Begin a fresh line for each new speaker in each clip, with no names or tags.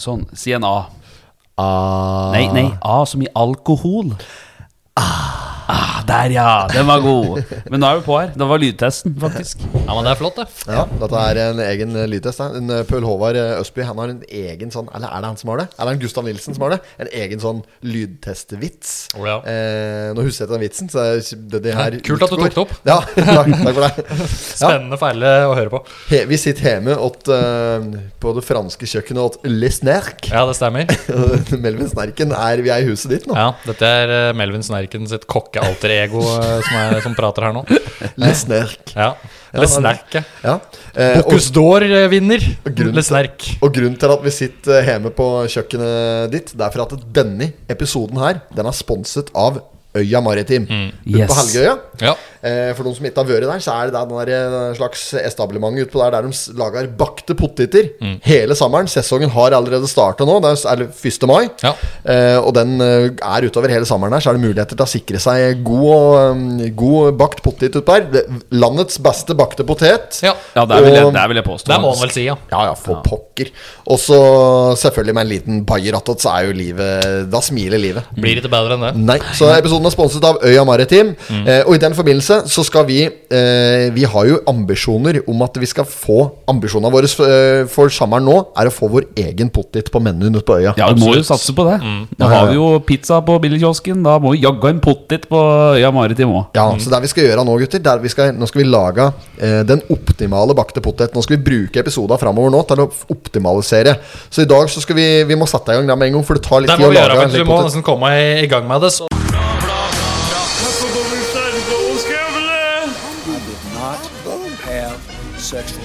Sånn, si en A.
Ah,
Nei, nei, A som i alkohol. Ah, der, ja! Den var god. Men nå er vi på her. Det var lydtesten, faktisk.
Ja, men det er flott, det.
Ja, dette er en egen eh, lydtest. her. En, eh, Pøl Håvard eh, Østby Han har en egen sånn Eller er det han som har det? Er det han Gustav Nilsen som har det? En egen sånn lydtestvits.
Å, ja.
eh, nå husker jeg ikke den vitsen, så det, er det, det her
Kult at du
utgår.
tok det opp.
Ja, takk, takk for det. Ja,
Spennende feile å høre på.
he, vi sitter hjemme åt, eh, på det franske kjøkkenet åt Le Snerk.
Ja, det stemmer.
Melvin Snerken er Vi er i huset ditt nå.
Ja, Dette er eh, Melvin Snerken sitt kokkealter ego eh, som, er, som prater her nå.
Le Snerk.
Ja,
Ja,
Le
han-
Snerke.
Ja. Eh, og,
Bocuse d'Or-vinner.
grunnen
Le Snerk.
og grunnen til at vi sitter eh, hjemme på kjøkkenet ditt, det er for at denne episoden her, den er sponset av Øya Maritim. Ute
Yes.
på Helgøya.
Mm. Ja.
Eh, for noen som ikke har vært der, så er det der den der eh, slags establement utpå der der de s- lager bakte poteter
Mm.
hele sommeren. Sesongen har allerede starta nå. Det er s- er det 1. mai.
Ja.
Eh, og den eh, er utover hele sommeren her, så er det muligheter til å sikre seg god, og, eh, god bakt potet utpå her. Det- Landets beste bakte potet.
ja.
Ja, der vil jeg, der vil jeg påstå.
Det må han vel si, ja.
Ja, ja, for pokker. Og så selvfølgelig med en liten bayer attåt, så er jo livet Da smiler livet.
Blir ikke bedre enn det.
Nei, så episoden er sponset av Øya Maritim.
Mm.
Eh, og i den forbindelse så skal vi eh, Vi har jo ambisjoner om at vi skal få Ambisjonene våre f- eh, for sommeren nå er å få vår egen potet på menyen ute på øya.
Ja, vi må jo satse på det. Da har vi jo pizza på billigkiosken. Da må vi jaggu en pottit på Øya Maritim òg.
Ja,
Mm.
så det vi skal gjøre nå, gutter det er at vi skal, Nå skal vi lage eh, den optimale bakte potet. Nå skal vi bruke episoden framover nå til å optimalisere. Så i dag så skal vi Vi må sette i gang der med en gang, for det tar litt
Det
tid
må
å
vi gjøre,
lage en
vet du.
slik
Vi må
potet.
nesten komme i, i gang med det. Så.
not have sexual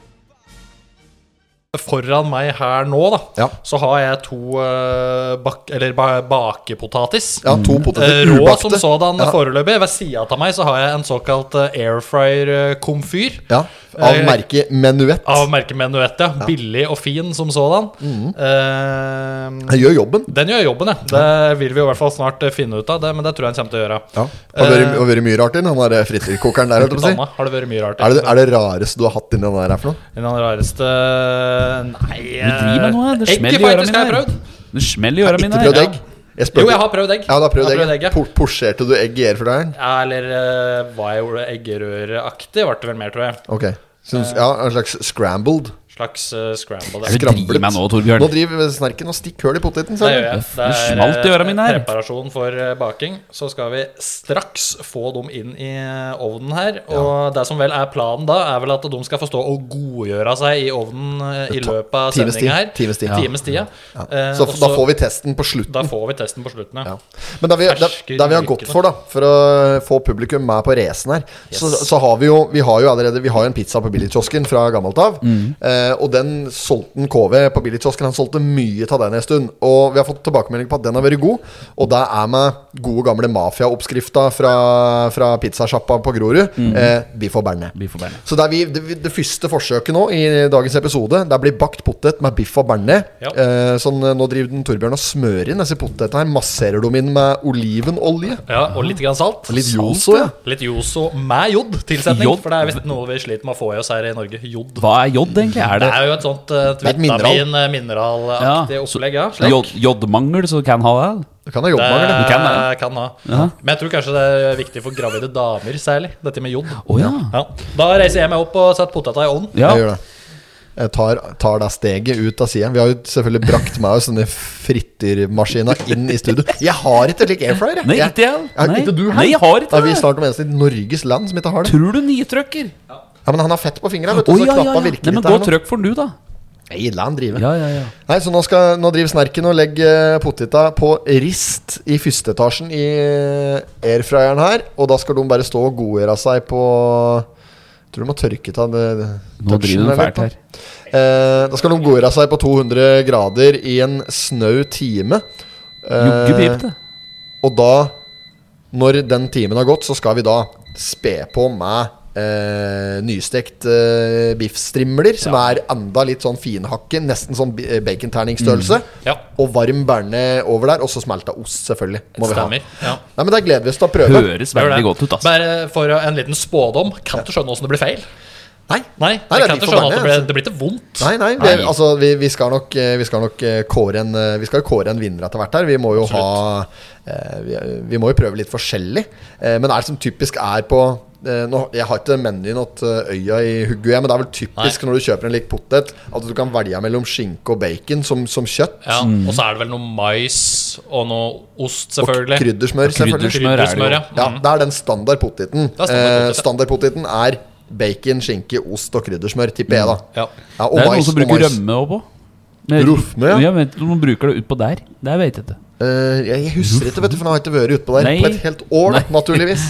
Foran meg her nå, da,
Ja.
så har jeg to eh, bak, eller ba, bakepotatis.
Ja, to
Mm.
Eh,
poteter.
Rå
ubakte.
som sådan
Ja.
foreløpig. Ved sida av meg så har jeg en såkalt eh, airfryer-komfyr.
Ja, Av
Eh,
merket Menuett.
Av merket Menuett, ja. Billig og fin som sådan.
Mm.
Eh,
Jeg gjør jobben.
den gjør jobben, ja. Det vil vi jo i hvert fall snart eh, finne ut av, det, men det tror jeg han kommer til å gjøre.
Ja. Har det
Eh,
vært- har det vært mye rart i den, han der frityrkokeren der. holdt jeg på å si.
Danna, har det vært mye rart?
Er det, er det rareste du har hatt inni den der her for noe?
Den rareste eh, Nei eh,
Du driver med noe, her. det
egg,
smeller i øra mine.
faktisk, har jeg
her.
prøvd.
Det smeller i øra mine.
Ikke
her.
prøvd
ja.
egg? Jeg spør-
Jo, jeg har prøvd egg.
Ja, du har prøvd
Jeg har
egg.
ja.
Por- Porsjerte du egg i airfryeren?
Ja, Eller eh, hva jeg gjorde eggerøreaktig, ble det vel mer, tror jeg.
Ok.
Eh.
Syns, ja, en slags scrambled.
Slags eh, scramble.
Er
Det.
du driver med nå, Torbjørn?
Nå driver snerken og stikker hull i poteten.
det
ser
gjør
du.
jeg.
Det
Det er
smalt i øra mine her.
eh, preparasjon for eh, baking. Så skal vi straks få dem inn i eh, ovnen her. Og det som vel er planen da, er vel at de skal få stå og godgjøre seg i ovnen eh, i
Det tar-
løpet av
times tid,
sendinga her.
times tid. Ja.
Times tid, ja.
Ja.
Eh,
Så
og
f- da får vi testen på slutten.
da får vi testen på slutten, ja.
Ja. Men der vi, der,
Ferske
der vi har
ryker,
gått for, da for å få publikum med på racen her, så, så har vi jo Vi har jo allerede Vi har jo en pizza på billigkiosken fra gammelt av. Eh, og den solgte en KV på billigkiosken. Han solgte mye av den en stund. Og vi har fått tilbakemelding på at den har vært god. Og det er med gode gamle mafiaoppskrifta fra, fra pizzasjappa på Grorud. Eh, biff og bearnés.
Biff og bearnés.
Så det, er vi, det, det første forsøket nå i dagens episode Det blir bakt potet med biff og bearnés.
Ja.
Eh, sånn, eh, nå driver den Torbjørn og smører inn disse potetene. her Masserer dem inn med olivenolje.
ja. Og litt grann salt.
Og litt yoso, ja.
Litt Joso med jod-tilsetning.
Jod?
For det er visst noe vi sliter med å få i oss her i Norge. Jod.
Hva er jod, egentlig? Er
Det
det
er jo et sånt eh,
er et mineral.
vitamin, eh, mineralaktig
Ja, så-
opplegg, ja. Slik.
jod, jodmangel, så du kan ha det?
Det kan jeg jobbe med.
Det
eller?
Du kan det.
kan ha.
Ja.
Men jeg tror kanskje det er viktig for gravide damer særlig, dette med jod.
Å ja.
Ja. Da reiser jeg meg opp og setter poteta i ovnen.
ja.
Jeg gjør det. Jeg tar, tar da steget ut av sida. Vi har jo selvfølgelig brakt med oss denne frityrmaskina inn i studio. Jeg har ikke slik airfryer. jeg.
Nei,
Jeg-
ikke jeg.
Ja,
Nei.
Ikke du her.
Nei, jeg har ikke
Da er vi
det.
snart om eneste i Norges land som ikke har det.
Tror du nitrøkker?
Ja, Men han har fett på fingra,
Å
vet du. Så
ja, ja, ja.
knappa virker
Nei, men
ikke
gå
her nå.
trøkk for den, du, da.
Nei, la han drive.
Ja, ja, ja.
Nei, så nå, skal, nå driver snerken og legger poteta på rist i første etasjen i eh, airfryeren her. Og da skal de bare stå og godgjøre seg på Tror du må tørke av det
Nå driver
touchen der
du
litt,
fælt her.
da. Eh, da skal de godgjøre seg på 200 grader i en snau time. Eh,
Jogge pip, det.
og da, når den timen har gått, så skal vi da spe på med eh, nystekt eh, biffstrimler, som er enda litt sånn finhakken, nesten sånn bi- eh, baconterningsstørrelse.
Mm. Ja.
Og varm berne over der, og så smelta ost, selvfølgelig. Må vi ha.
Stemmer. Ja.
Nei, men Da gleder vi oss til å prøve.
Høres veldig godt ut, altså. ass.
Bare for en liten spådom. Kan ikke skjønne åssen det blir feil.
Nei,
Nei,
Nei,
jeg
det
kan
blir
ikke skjønne at det
for
blir,
mange,
det blir ikke vondt.
Nei, nei, det,
Nei.
altså vi, vi skal nok, eh, vi skal nok eh, kåre, en, eh, vi skal jo kåre en vinner etter hvert her. Vi må jo ha eh, vi, vi må jo prøve litt forskjellig. Eh, men er det som typisk er på eh, nå, Jeg har ikke menyen at eh, øya i hugget, men det er vel typisk når du kjøper en lik potet, at du kan velge mellom skinke og bacon som, som kjøtt.
Ja, Og så er det vel noe mais og noe ost,
Og
selvfølgelig.
kryddersmør, selvfølgelig.
Kryddersmør er det jo.
Kryddersmør, ja.
Ja, det er den standardpoteten.
er standardpoteten.
Eh, standardpoteten er bacon, skinke, ost og kryddersmør, tipper jeg, da.
Mm. Ja.
Ja,
Mm.
og
Det er
mais,
noen som
og
bruker
mais.
rømme òg på. Med-
Rømme, ja.
Jeg vet ikke om de bruker det utpå der. Det vet jeg ikke.
Eh, jeg jeg husker ikke, vet du, for nå har jeg ikke vært utpå der
Nei.
på et helt år, da,
Nei.
naturligvis.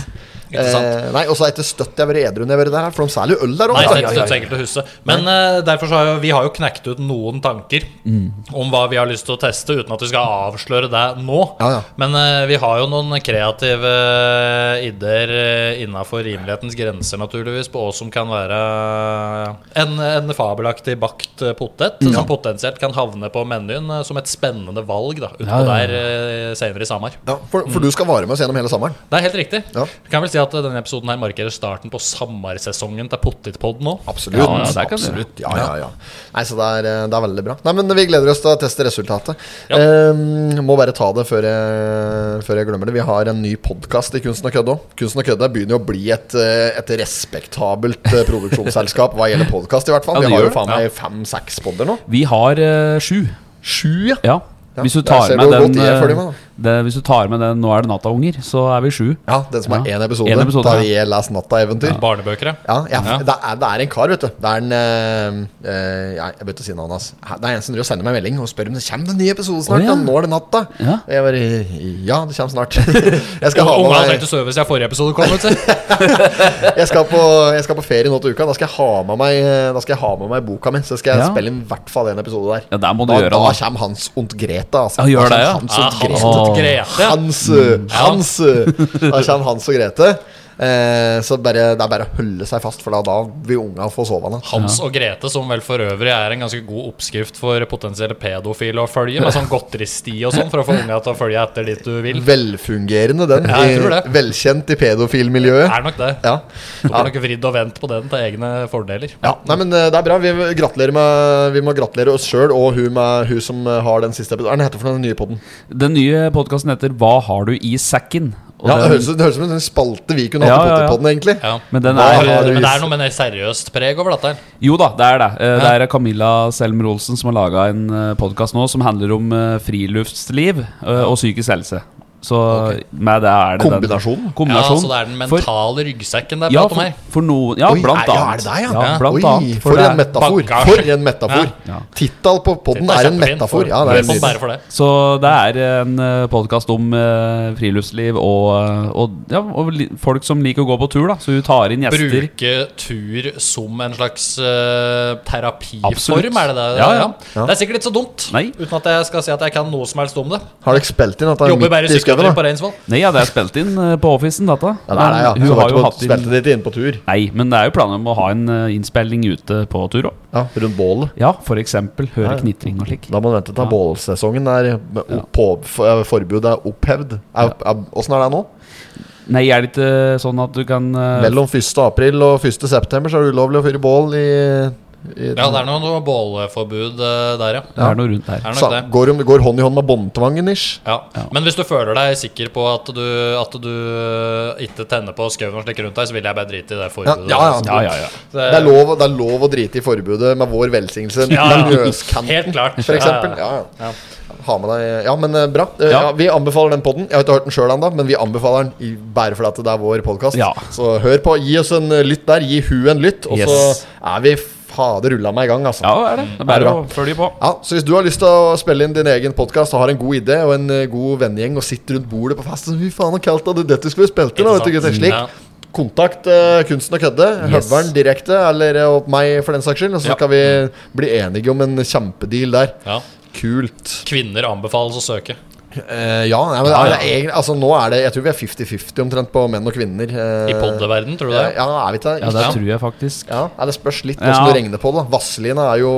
Ikke sant?
Eh, nei, Og så har jeg ikke støtt jeg har vært edru når jeg har vært der, for de selger jo øl
Nei,
der òg.
det er ikke så enkelt å huske. Men eh, derfor så har jo, vi har jo knekt ut noen tanker
Mm.
om hva vi har lyst til å teste, uten at vi skal avsløre det nå.
Ja, ja.
Men eh, vi har jo noen kreative ideer eh, innenfor rimelighetens grenser, naturligvis, på hva som kan være en, en fabelaktig bakt eh, potet,
Mm.
som potensielt kan havne på menyen eh, som et spennende valg da, utpå
Ja, ja, ja.
der eh, senere i sommer.
Ja, for,
Mm.
for du skal vare med oss gjennom hele sommeren.
Det er helt riktig.
Ja.
Vi Kan vel si at eh, denne episoden her markerer starten på sommersesongen til Pottitpod nå.
Absolutt.
Ja, ja, det kan du.
Absolutt. Ja, ja, ja. Nei, så det er, eh, det er veldig bra. Nei, men Vi gleder oss til å teste resultatet.
Ja.
Eh, må bare ta det før jeg, før jeg glemmer det. Vi har en ny podkast i Kunsten og kødde òg. Kunsten og kødde begynner jo å bli et, eh, et respektabelt eh, produksjonsselskap hva gjelder podkast, i hvert fall.
Ja, det
vi har jo
gjør det.
faen meg fem-seks podder nå.
Vi har eh, sju.
Sju, ja.
Ja.
Ja,
Hvis du
der
tar
ser
med
du hvor
den,
godt jeg følger med,
eh, det, Hvis du tar med den 'Nå er det natta, unger', så er vi sju.
Ja, den som har
Ja.
én episode.
En episode,
da
ja.
jeg leser Natta-eventyr. Ja.
Barnebøker, ja.
Ja,
Ja.
Det, er, det er en kar, vet du. Det er en eh, eh, Jeg jeg begynte å si navnet hans. Det er en som driver og sender meg melding og spør om det kommer en ny episode snart.
Å, ja.
ja. Nå er det natta.
Ja.
Og jeg bare Ja, det kommer snart. jeg, skal ha
Ungene har
med
tenkt
meg,
å sove siden forrige episode kom ut. se.
jeg, skal på, jeg skal på ferie nå til uka. Da skal jeg ha med meg eh, Da skal jeg ha med meg boka mi. Så skal jeg
Ja.
spille inn i hvert fall en episode der.
Ja, der må du
da,
gjøre
da
det.
kommer Hans und Greta. Altså.
Ja, gjør
Da
det,
kommer
ja.
Ah,
Hans und
Hans
Greta.
og Grete.
Hans,
Mm.
Hans eh, Da kommer Hans og Grete. Eh, så bare, det er bare å holde seg fast, for da, da vil unga få sove. Da.
Hans og Grete, som vel for øvrig er en ganske god oppskrift for potensielle pedofile å følge, med sånn godteristi og sånn, for å få unga til å følge etter dit du vil.
Velfungerende, den.
Ja, jeg tror det.
I- Velkjent i pedofilmiljøet.
Er nok det.
Ja.
Du
Ja.
kan nok vridd og vendt på den til egne fordeler.
Ja, nei, men eh, det er bra. Vi må gratulerer med Vi må gratulere oss sjøl og hun, med, hun som eh, har den siste episoden. Hva er den heter for noe, den nye podden?
Den nye podkasten heter 'Hva har du i sekken?' Og
Ja, det
den-
høres ut det høres ut som en spalte vi kunne
Ja,
hatt
ja,
i
ja.
Potterpodden, egentlig.
Ja.
men den
Hva
er
har du
Men
i-
det er noe med det seriøst preg over dette. her.
Jo da, det er det. Eh, Det er Camilla Selmer Olsen som har laga en podkast nå som handler om eh, friluftsliv eh, og psykisk helse. Så med det er det den-
Kombinasjonen?
Ja,
Kombinasjon.
så det er den
For-
mentale ryggsekken det er
ja,
prat om
for,
her.
for noen Ja,
Oi,
blant
er- ja, er
annet.
det deg, ja?
Ja, blant
Oi,
annet.
for,
det
en metafor.
bagasje.
For en metafor.
Ja.
Tittel på podden
Det
er en
kjempefint.
metafor. Ja, det er
Vi får bære
nydelig.
for det.
Så det er en podkast om eh, friluftsliv og, eh, og, ja, og li- folk som liker å gå på tur, da. Så hun tar inn gjester.
Bruke tur som en slags eh, terapiform,
Absolutt.
er det det?
Ja, ja.
Det er sikkert ikke så dumt,
Nei.
uten at jeg skal si at jeg kan noe som helst om det.
Har dere spilt inn at det er
Jobber bare
midt
i
i
psykiatri
skauen? da?
på Reinsvoll.
Nei, ja, det er spilt inn eh, på Officen, dette.
Ja, det er det, ja.
Men Hun
Så
har
vært
jo
på-
hatt
Spilte
inn
dere ikke inn på tur?
Nei, men det er jo planer om å ha en eh, innspilling ute på tur òg.
Ja, rundt bålet.
Ja, for eksempel. Høre knitring og slik.
Da må man vente til bålsesongen er opp- på, for- Forbudet er opphevd. Er- er- Åssen er det nå?
Nei, er det ikke sånn at du kan eh,
Mellom 1. april og 1. september så er det ulovlig å fyre bål i, i
Ja, det er noe, noe bålforbud eh, der, ja.
Det er noe rundt der.
Er nok
Sa-
det.
går, om- går hånd i hånd med båndtvangen, ish.
Ja. Men hvis du føler deg sikker på at du, at du eh, ikke tenner på skauen og slik rundt deg, så vil jeg bare drite i det
Ja,
forbudet.
ja,
Ja,
ja.
ja, ja.
Det,
Det, er lov, det er lov å drite i forbudet med vår velsignelse.
Ja, ja.
Med løskanten,
Helt klart.
For eksempel.
Ja,
Ja, ja. Ha med deg Ja, men eh, bra.
Ja.
Eh, Ja, vi anbefaler den podden. Jeg har ikke hørt den sjøl ennå, men vi anbefaler den i, bare fordi at det er vår podkast.
Ja.
Så hør på. Gi oss en eh, lytt der. Gi hu en lytt. Og
Yes.
så er vi fader ulla meg i gang, altså.
Ja, det er det. Det er
Det er
bare
bra.
å følge på.
Ja, så hvis du har lyst til å spille inn din egen podkast og har en god idé og en eh, god vennegjeng og sitter rundt bordet på fest og Fy faen, så kaldt det dette skulle vi spilt inn, da, vet du, gutter. Slik.
Ja.
Kontakt eh, Kunsten og kødde.
Mm, Yes.
Høveren direkte, eller eh, meg for den saks skyld. Og så
Ja.
skal vi bli enige om en kjempedeal der.
ja.
Kult.
Kvinner anbefales å søke.
Eh, ja, nei, men
Ja,
det
ja.
er egentlig, altså, nå er det Jeg tror vi er 50-50 omtrent på menn og kvinner. eh,
I poddeverden, tror du det?
Ja, er vi ikke
Ja, det tror jeg faktisk.
Ja, nei, Det spørs litt
Ja.
hvordan du regner på det. da. Vazelina er jo,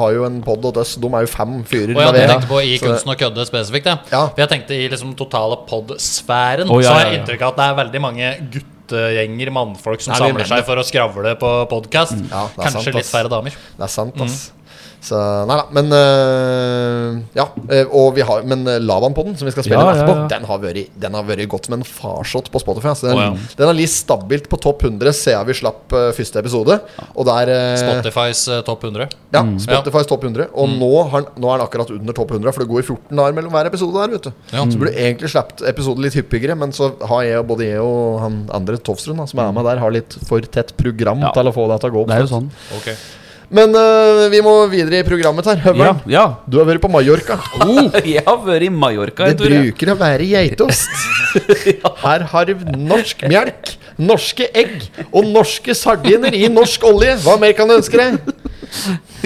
har jo en pod hos oss. De er jo fem fyrer.
Og jeg hadde
med
tenkt på i
Så-
kunsten å kødde spesifikt. Ja.
Ja.
For jeg tenkte i liksom totale pod-sfæren
Å, ja,
så har
ja,
jeg
ja.
inntrykk av at det er veldig mange guttegjenger, mannfolk, som
Nei,
samler
vi mener
seg for å skravle på podkast.
Ja, det er
Kanskje
sant,
litt
ass.
færre damer.
Det er
Mm.
sant, ass. Så nei da, men øh, Ja. øh, Og vi har Men Lavan på den, som vi skal spille
Ja,
inn
ja,
etterpå,
ja.
den har vært Den har vært godt som en farsott på Spotify. ass. den,
Å, ja.
den har ligget stabilt på topp 100 siden vi slapp øh, første episode. Og der øh,
Spotifys eh, topp 100.
Ja,
Mm.
Spotifys topp 100. Og nå, har, den- nå er den akkurat under topp 100, for det går 14 dager mellom hver episode. der, vet du
Ja.
Så burde du egentlig sluppet episoder litt hyppigere, men så har jeg og både jeg og han andre Tofsrud, da, som er med der, har litt for tett program
Mm. Ja.
til å få det til å gå opp.
Det er jo sånn.
Ok.
Men øh, vi må videre i programmet her.
Ja.
Høveren,
ja. Oh!
du har vært på Mallorca.
Jeg har vært i Mallorca
Det
en tur. jeg.
bruker å være geitost. Her har du norsk melk, norske egg og norske sardiner i norsk olje. Hva mer kan du ønske deg?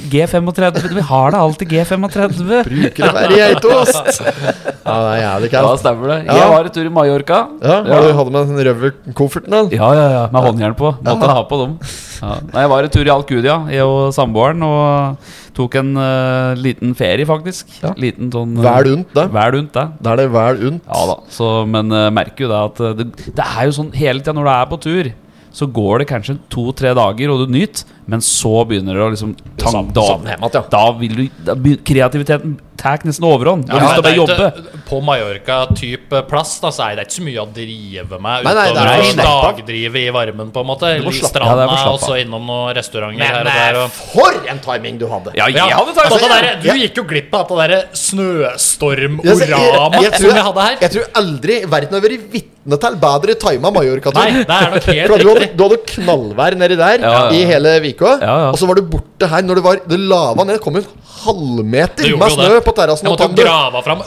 G35. Vi har da alltid G35.
Bruker å være geitost. Ja, det er jævlig
Ja,
kaldt.
stemmer det.
Ja.
Jeg var en tur i Mallorca.
Ja, har du hatt med den røverkofferten, da?
Ja, ja, ja. Med håndjern på. Måtte ha på dem. Ja. Nei, jeg var en tur i Alcudia, jeg og samboeren, og tok en eh, liten ferie, faktisk. Liten sånn eh,
Vel unt, det.
Vel unt, det.
Da er det vel unt.
Ja da, så, men uh, merker jo det at eh, det, det er jo sånn hele tida når du er på tur, så går det kanskje to-tre dager og du nyter, men så begynner det å liksom tank, da,
savne hjem igjen, ja.
da vil du da, begyn- Kreativiteten tar nesten overhånd. Du har
Ja,
lyst til å
det
bare
er
jobbe.
ikke- På Mallorca-type plass da, så er det ikke så mye å drive med
Nei, nei, det er
utover å
for slappa.
dagdrive i varmen, på en måte. Eller i
slappe- Ja,
stranda,
det er for
og
slappa.
så innom noen restauranter
Men
her og
det
der.
er
Og
for en timing du hadde!
Ja, jeg hadde
altså,
tatt
det derre- du
ja.
gikk jo glipp av det derre
Jeg, jeg,
snøstorm-orama
jeg,
som
tror,
vi hadde her.
jeg tror aldri verden har vært vitne til bedre tima
Nei,
Mallorca-tur.
det er nok
For
helt
du hadde,
riktig.
du hadde knallvær nedi der
Ja, ja.
i hele Vika.
Ja, ja.
Og så var du borte her når det var Det lava ned. Det kom en halvmeter
Det gjorde
med
jo
snø
det.
på terrassen.
Jeg
og
måtte jo
Tander.
grave fram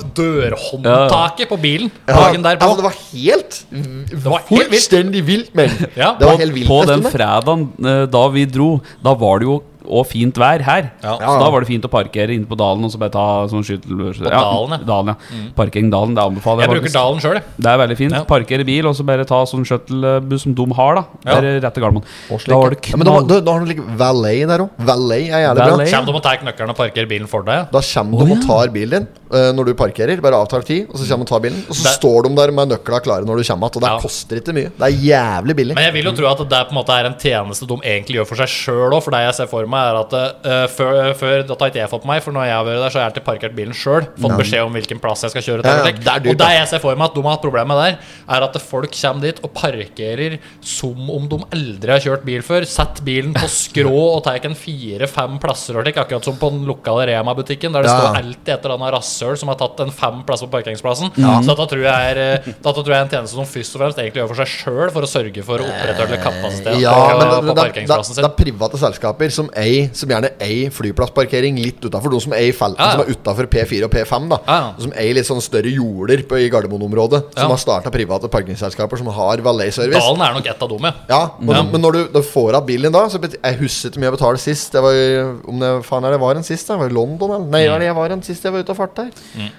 dørhåndtaket på bilen
Ja,
dagen derpå.
altså, det var helt
Det var helt vilt.
Fullstendig vilt, men
Ja,
Det var
på,
helt vilt.
på
nesten,
den
det.
fredagen eh, da vi dro, da var det jo og fint vær her.
Ja.
Så da var det fint å parkere inne på dalen og så bare ta sånn skytel... Ja,
dalen, ja. Mm.
dalen, ja. Parkering Dalen, det anbefaler
Jeg
jeg.
bruker
faktisk.
Dalen sjøl, jeg.
Det er veldig fint.
Ja.
Parkere bil, og så bare ta sånn shuttlebuss som de har, da.
Ja.
Bare rett til Gardermoen. Da var det
ja, men da,
knall...
da, da har du like valet der òg. Valet er jævlig bra.
Valet?
Kjem de og tar nøkkelen og parkerer bilen for deg?
Da kommer de og tar bilen din eh, når du parkerer. Bare avtar tid, og så kommer de og tar bilen. Og så
Det-
står de der med nøkla klare når du kommer igjen. Og det
Ja.
koster ikke mye. Det er jævlig billig.
Men jeg vil jo tro at det på en måte er en tjeneste de egentlig gjør for seg sjøl òg. For det jeg ser for meg, er at eh, før, før Det har ikke jeg fått med meg, for når jeg har vært der, så har jeg alltid parkert bilen sjøl. Fått beskjed om hvilken plass jeg skal kjøre til.
Ja, ja,
og slik.
det er dyrt,
og det
da.
jeg ser for meg at de har hatt problemer med der, er at folk kommer dit og parkerer som om de aldri har kjørt bil før. Setter bilen på skrå og tar en fire-fem plasser og slik, akkurat som på den lokale Rema-butikken, der det
Ja.
står alltid et eller annet rasshøl som har tatt en fem plass på parkeringsplassen. Så dette tror, jeg er, eh, dette tror jeg er en tjeneste som først og fremst egentlig gjør for seg sjøl, for å sørge for å opprettholde kapasitet
Ja,
på,
men det,
på
det, det,
parkeringsplassen sin.
det er private selskaper som, ei, som gjerne eier flyplassparkering litt utafor. De som eier felten
Ja, ja.
som er utafor P4 og P5. da
Ja, ja.
Som eier litt sånn større jorder på, i Gardermoen-området.
Ja.
Som har starta private parkeringsselskaper som har valet-service.
Dalen er nok ett av dem, ja.
Ja, men, men når du, da får av bilen din da så bet- Jeg husker ikke mye jeg betalte sist. Det var, i- om det faen er det var en sist? da? Var det London, eller? Nei, var det jeg var en sist jeg var ute og farta her?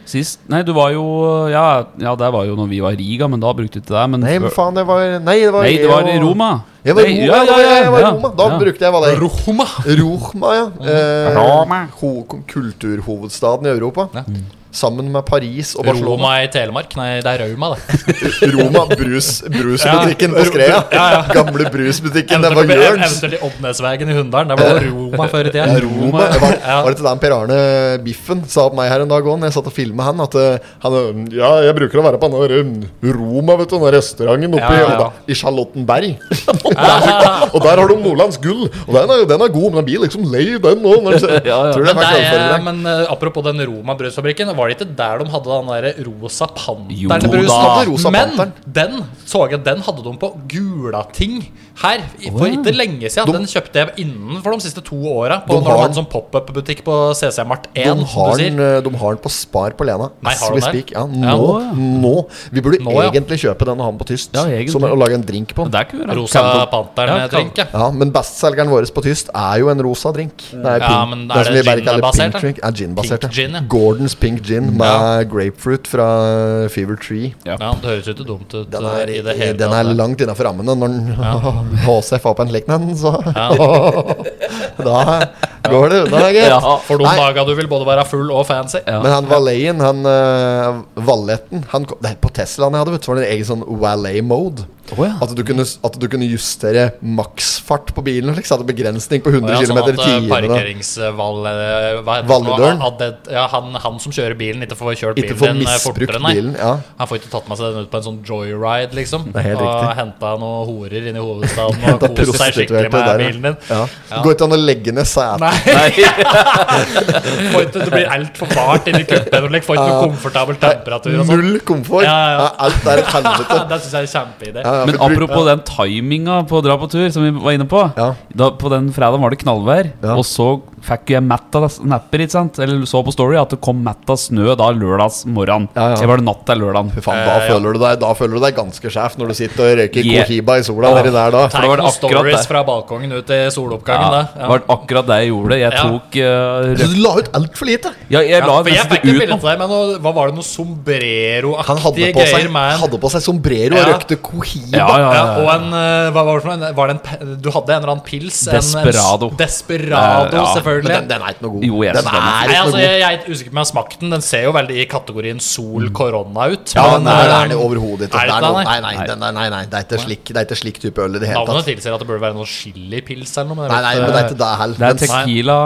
Sist Nei, du var jo Ja, ja det var jo når vi var i Riga, men da brukte du ikke det. Men
Nei, men
før-
faen, det var Nei, det var
nei, det var i
og-
Roma.
Jeg var i
Nei,
Roma, ja, ja, jeg var i Roma. Da
ja.
brukte jeg hva det er.
Roma.
Roma, ja. Eh,
Roma.
ho- kulturhovedstaden i Europa. Sammen med Paris og Barcelona.
Roma i Telemark? Nei, det er Rauma, det.
Roma, brus, brusbutikken på Skrea. Gamle brusbutikken. Det var Jørns.
Eventuelt i Oddnesvegen i Hunndalen. Det var jo Roma før i tida.
Roma. Det var,
Ja.
var det til den Per Arne Biffen sa til meg her en dag òg, når jeg satt og filma han, at eh, han eh, Ja, jeg bruker å være på den der eh, Roma, vet du, den der restauranten oppe
Ja, ja, ja.
i- og da- i Charlottenberg. Der- og der har du Nordlands gull, og den er, den er god, men den blir liksom lei, den òg.
Ja, ja.
Men,
Tror du det er
det
faktisk
er,
overfordring?
men eh, apropos den Roma brødfabrikken, var det ikke der de hadde den der rosa
Jo da.
panteren-brusen?
Hadde rosa
Men
Panteren.
den så jeg, den hadde de på Gulating Her, i- for ikke lenge siden.
De-
Den kjøpte jeg innenfor de siste to åra.
De
Når de
har-
hadde sånn pop-up-butikk på CC Mart 1.
De har,
som du
den, eh,
sier.
de har den på Spar på Lena.
Nei,
As
har
we
de det?
speak. Ja, nå,
Ja.
nå Vi burde
Nå, ja.
egentlig kjøpe den og ha den på tyst.
Ja, egentlig.
som å lage en drink på.
Det er ikke
Rosa Panteren-drink. Ja,
Ja, Men bestselgeren vår på tyst er jo en rosa drink. Det er,
Ja,
pink-
men er
det er som
det
vi bare kaller
gin-basert,
pink
da?
drink. Er gin-basert,
Pink gin, ja. Mm,
Gordons pink gin med
Ja.
grapefruit fra Fever Tree.
ja, Det høres jo ikke dumt ut
Den
eh,
er,
i det hele
den
tatt.
er langt innafor rammene. Når den HCF har på en lekk med den, så Da går det unna, gitt.
Ja.
For de
Nei.
daga du vil både være full og fancy.
Ja.
Men han Valeien, han uh, Valetten han, kom- Nei, På Teslaen jeg hadde, vet du, så var det en egen sånn Valet-mode.
Åja.
at, du kunne- at du kunne justere maksfart på bilen. Liksom, hadde begrensning på
Og
100
ja,
km i
sånn at
timen. da.
parkeringsvall eh, hva heter det?
Valledøren?
At det- Ja, han, han som kjører bilen, ikke får kjørt
Ikke
bilen
få
din eh,
misbrukt
fortere, nei.
bilen. Ja.
Han får ikke tatt med seg den ut på en sånn joyride, liksom.
er helt
og
riktig.
henta noen horer inn i hovedstaden og kost seg skikkelig
Prostituerte
med
der,
bilen din.
Ja. Går ikke an å legge ned setet.
Nei, får ikke, det blir altfor varmt inni kuppen. og Får ikke noe komfortabel temperatur og sånn.
Null komfort.
Ja, ja.
Alt er et helvete.
Det syns jeg er en kjempeidé.
Ja, ja,
Men
bruk-
apropos den timinga på å dra på tur, som vi var inne på.
Ja.
Da, på den fredagen var det knallvær,
Ja.
og så fikk jeg mett av snapper. ikke sant? Eller så på Story at det kom mett av snø da lørdags morgen.
Ja, ja.
Jeg var det natt til lørdagen.
Fy faen, da, føler du deg, da føler du deg ganske sjef når du sitter og røyker
Yeah.
Cohiba i sola nedi der da.
For da var det
Noen
akkurat
stories
det.
fra balkongen ut i
Ja,
soloppgangen, det.
det var akkurat det jeg gjorde. Jeg
Ja.
tok eh,
Så
rød-
du la ut altfor lite.
Ja, jeg la
Ja, for jeg
nesten
fikk
ikke
et
ut
bilde
noe.
til deg med noe Hva var det, noe
Han
sombreroaktige
hadde på
greier
seg,
med en
hadde på seg sombrero og
Ja.
røykte Cohiba.
Ja, ja,
ja,
ja.
og en, eh, hva var det for noe? Var det en, pe- du hadde en eller annen pils? en-
Desperado.
En, s-
Eh,
desperado,
ja.
selvfølgelig.
Men den, den er ikke noe god.
Jo, jeg
den
synes
er
den er
ikke
Nei,
noe
altså,
god.
jeg, jeg er usikker på om jeg har smakt den. Den ser jo veldig i kategorien
Mm.
sol korona ut.
Ja,
Men,
den er,
eh,
er det overhodet ikke.
er det
Det er
ikke
noe-
det,
Nei,
nei?
nei, den er- nei, nei, det er ikke slik, det er ikke slik type øl i det hele
Navnet
tatt.
tilsier at det burde være noe chilipils eller noe. Men jeg
Nei, nei,
vet,
men det er
eh,
ikke det heller.
Det er
Men-
tequila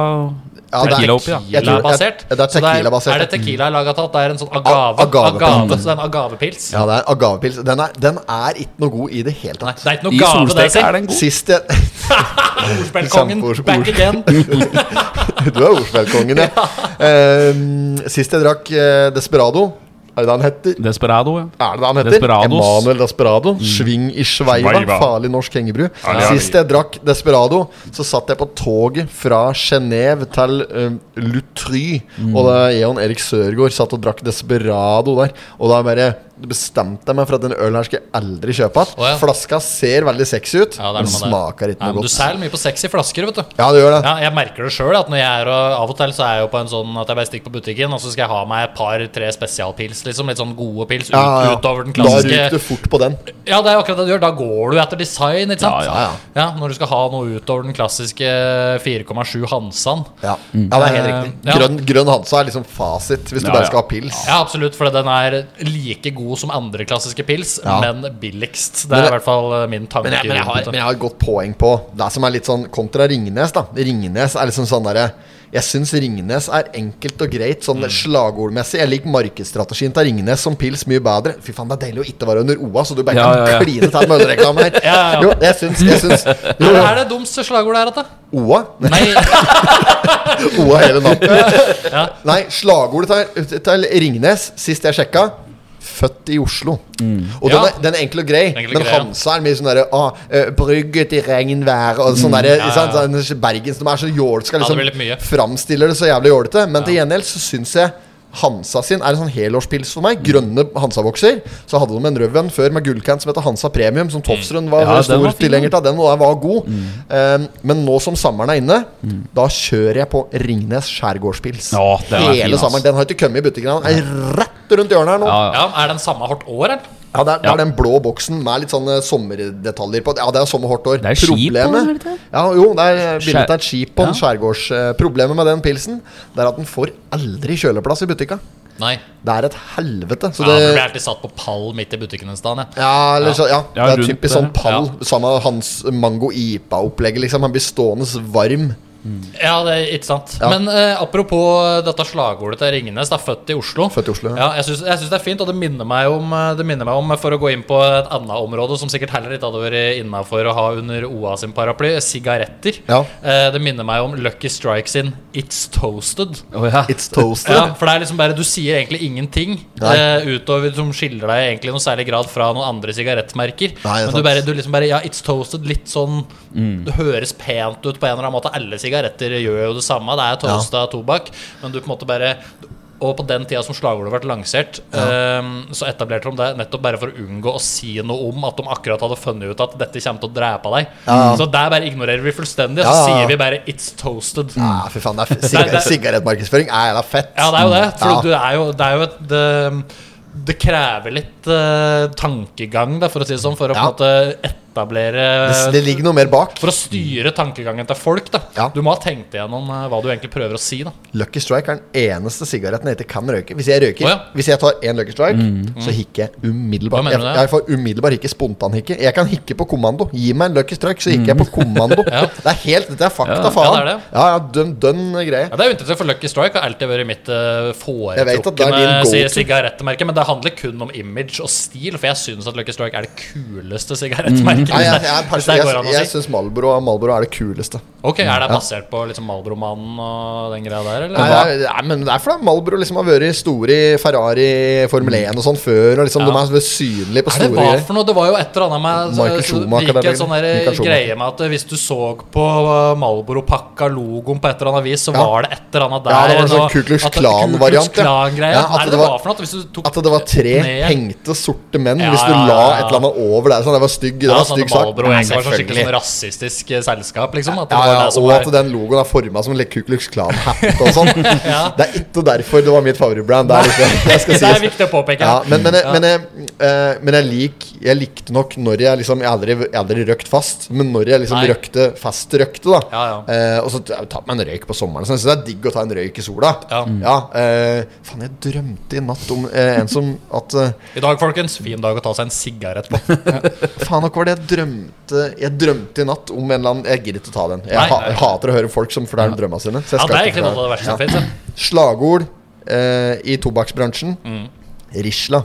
Ja, det er
Tequila oppi, ja.
Jeg tror-
tequila-basert.
ja, det er
Så
tequila-basert,
Er det
ja.
tequila jeg laget av? Det er en sånn agave.
A- agave.
agave så det er en agavepils.
Ja, det er agavepils. Den er, den er ikke noe god i det hele
Nei,
tatt.
det er ikke noe
I
gave, det,
solstek er den god.
Sist jeg
Ordspillkongen.
Kjempeord-
Back
ord.
again.
Du er ordspillkongen, ja. Ehm, sist jeg drakk eh, Desperado Er det det han heter?
Desperado. ja
Er det det han heter?
Desperados.
Emanuel Desperado.
Mm.
Sving i sveiva.
Sveiva.
Farlig norsk hengebru. Sist jeg drakk Desperado, så satt jeg på toget fra Genéve til eh, Lutry.
Mm.
Og da Eon Erik Sørgaard satt og drakk Desperado der. Og da bare bestemte jeg meg for at den ølen her skal jeg aldri kjøpe igjen.
Å, ja.
Flaska ser veldig sexy ut,
Ja, det er noe
men
med det.
smaker ikke
Nei,
noe
men du
godt.
selger mye på sexy flasker, vet du.
Ja, det gjør det.
Ja, jeg merker det sjøl. Av og til så er jeg jo på en sånn at jeg bare stikker på butikken, og så skal jeg ha meg et par-tre spesialpils. Liksom Litt sånn gode pils ut,
Ja, ja, ja.
utover den
Da ryker
klassiske.
du fort på den.
Ja, det er akkurat det du gjør. Da går du etter design, ikke sant?
Ja,
ja, ja.
Når du skal ha noe utover den klassiske 4,7 Hansan.
Ja, ja det er helt riktig.
Eh, ja.
Grønn, grønn Hansa er liksom fasit hvis du
Ja,
bare
ja.
skal ha pils.
Ja, absolutt, for den er like god som andre klassiske pils,
Ja.
men billigst. Det
Men
er
det-
i hvert fall eh, min tanke.
Men jeg, men, jeg har,
rundt
men
det.
jeg har et godt poeng på det som er litt sånn kontra Ringnes. da Ringnes er liksom sånn derre Jeg syns Ringnes er enkelt og greit
Mm.
sånn slagordmessig. Jeg liker markedsstrategien til Ringnes som pils mye bedre. Fy faen, det er deilig å ikke være under OA, så du bare
Ja,
kan
ja, ja.
kline til med ølreklame her.
Ja, ja, ja.
Jo, jeg syns, jeg syns jo,
Hva er det dummeste slagordet her, da?
OA?
Nei,
OA hele natten.
Ja.
Nei, slagordet til, til Ringnes sist jeg sjekka Født i Oslo. Og den,
Ja.
er, den er enkel og grei,
Enkel og
men
grei, ja.
Hansa er mye sånn derre ah, eh, 'Brygget i regnvær' og sånn derre ikke sant? Sånn Bergens de er så jålska,
Ja, det blir litt
liksom.
mye.
framstiller det så jævlig jålete. Men til gjengjeld så syns jeg Hansa sin er en sånn helårspils for meg. Grønne Hansa-bokser. Så hadde de en rød en før med gullkant som heter Hansa Premium,
Mm.
som Tofsrud var
Ja, den
stor
var fin, den. Mm.
tilhenger av. Den og den var god. Um, men nå som sommeren er inne, da kjører jeg på Ringnes skjærgårdspils.
Ja, den er fin,
Hele
ass.
sommeren. Den har ikke kommet i butikken. Den er rett rundt hjørnet her nå.
Ja,
Ja,
ja.
ja, Er den samme hardt år, eller?
det, er, det
Ja.
er den blå boksen med litt sånne sommerdetaljer på. Ja, det er sommerhårt år.
Det er skip på den,
Problemet-
er det ikke det?
Ja, jo, det er bildet av et skip på en
Ja.
skjærgårds... eh, Problemet med den pilsen, det er at den får aldri kjøleplass i butikka.
Nei.
Det er et helvete. Så
Ja, det
det
blir alltid satt på pall midt i butikken en stad. Ja.
Ja, eller så, ja.
Ja,
det er
rundt
typisk
det.
sånn pall. Samme hans mango-ipa-opplegget, liksom. Han blir stående varm
Ja, det er ikke sant.
Ja.
Men eh, apropos dette slagordet til Ringnes, da, født i Oslo.
Født i Oslo, ja.
ja. jeg syns jeg syns det er fint, og det minner, meg om, eh, det minner meg om, eh, for å gå inn på et annet område som sikkert heller ikke hadde vært innafor å ha under OA sin paraply, eh, sigaretter.
Ja.
Eh, det minner meg om Lucky Strike sin It's Toasted.
Å ja.
It's toasted.
Ja, for det er liksom bare Du sier egentlig ingenting
Nei.
eh, utover som skiller deg egentlig noe særlig grad fra noen andre sigarettmerker.
Nei, det
Men du
er sant. Mm.
bare, du liksom bare Ja, it's toasted. Litt sånn Det høres pent ut på en eller annen måte. Alle sigaretter gjør jo det samme. Det er toasta tobakk, men du på en måte bare og på den tida som slagordet ble lansert, eh, så etablerte de det nettopp bare for å unngå å si noe om at de akkurat hadde funnet ut at dette kommer til å drepe deg. Så der bare ignorerer vi fullstendig, og så
Ja, ja, ja.
sier vi bare 'it's toasted'.
Ah, fy faen, det er f-
Nei, det
sigaret,
er-
sigarettmarkedsføring er jævla fett.
Ja, det er jo det. For
Ja.
du er jo, det er jo et det, det krever litt eh, tankegang, da, for å si det sånn, for å på
Ja.
en måte etablere
Det- Det ligger noe mer bak.
For å styre tankegangen til folk, da.
Ja.
Du må ha tenkt igjennom eh, hva du egentlig prøver å si, da.
Lucky Strike er den eneste sigaretten jeg ikke kan røyke. Hvis jeg røyker
Å, ja. Mm.
Hvis jeg tar én Lucky Strike, så hikker jeg
Hva
umiddelbart.
mener
Jeg,
du det?
jeg får umiddelbar hikke, spontan hikke. Jeg kan hikke på kommando. Gi meg en Lucky Strike, så hikker jeg på kommando. Det er helt, Dette er fakta,
Mm. Ja, det er
faen.
det.
ja, ja, dønn, dønn greie.
Ja, det er jo interessant, for Lucky Strike har alltid vært mitt eh,
vet at det er din
foretrukne
go-to.
si- sigarettmerke. Men det handler kun om image og stil, for jeg syns at Lucky Strike er det kuleste sigarettmerket.
Mm. Nei, jeg,
hvis
jeg,
det-
jeg,
hvis det
jeg,
går an
jeg,
å
jeg
si.
syns Malboro, Malboro er det kuleste.
Ok, Er det basert på liksom Malbromannen og den greia der, eller?
Nei, nei, nei, men det er fordi Malboro liksom har vært store i Ferrari, Formel 1 og sånn før. Og liksom,
Mm. Ja.
De er synlige på
Hva er
store
det var
greier.
for noe? Det var jo et eller annet med
Michael
så- så-
Schumacher,
det gikk
eller-
en sånn der
Michael Schumacher.
greie med at hvis du så på Malboro-pakka logoen på et eller annet vis, så
Ja.
var det et eller annet der.
Ja, det var en sånn
nå-
Ku Klux
at-
Klan-variant,
Ku Klux Klan-greie.
ja. Ja,
Hva er det det var for noe? At hvis du tok
At det var tre
ned-
hengte sorte menn
Ja,
hvis du
ja,
la
ja, ja.
et eller annet over der. Sånn, det var stygg, det
ja,
var
sånn
stygg
at
sak.
Malboro egentlig
Ja,
var sånn skikkelig sånn
selvfølgelig.
rasistisk eh, selskap, liksom. At det
Ja,
var
ja,
det som
og
var
at den logoen er forma som en Ku Klux Klan-hatt og sånn. Det er ikke derfor det var mitt favorittbrand. Det er, liksom, jeg skal
Det er
sies.
viktig å påpeke.
Ja, men, men, jeg- men, jeg, eh, men jeg, lik, jeg likte nok når jeg liksom Jeg har aldri, jeg har aldri røkt fast, men når jeg liksom
Nei.
røkte fast røkte, da
Ja, ja.
eh, Og så t- jeg tatt meg en røyk på sommeren. sånn, Så jeg synes det er digg å ta en røyk i sola.
Ja.
eh, faen, jeg drømte i natt om eh, en som at eh,
I dag, folkens, fin dag å ta seg en sigarett på.
Faen, hva var det jeg drømte Jeg drømte i natt om en eller annen Jeg gidder ikke å ta den. Jeg
Nei,
ha,
nei.
hater å høre folk som forteller drømmene sine. så jeg
Ja,
skal
det er
ikke
egentlig noe av det
forklare.
verste som fins.
Slagord eh, i tobakksbransjen.
Mm.
Risla.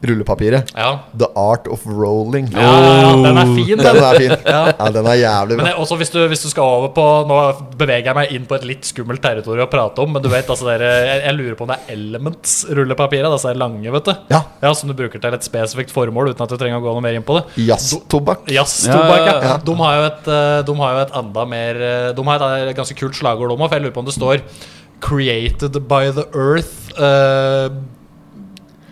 Rullepapiret.
Ja.
The Art of Rolling.
Ja, ja, den er fin,
Den
den.
er fin. ja. den er jævlig
Men
bra.
jeg, også hvis du, hvis du skal over på Nå beveger jeg meg inn på et litt skummelt territorium å prate om, men du vet, altså dere, jeg, jeg lurer på om det er Elements-rullepapiret. Altså er lange, vet du.
Ja.
Som du bruker til et spesifikt formål uten at du trenger å gå noe mer inn på det.
Jazztobakk.
Jazztobakk, ja.
Ja, ja, ja.
De har jo et, eh, de har jo et anda mer eh, De har et eh, ganske kult slagord om, for jeg lurer på om det står 'Created by the earth'. eh,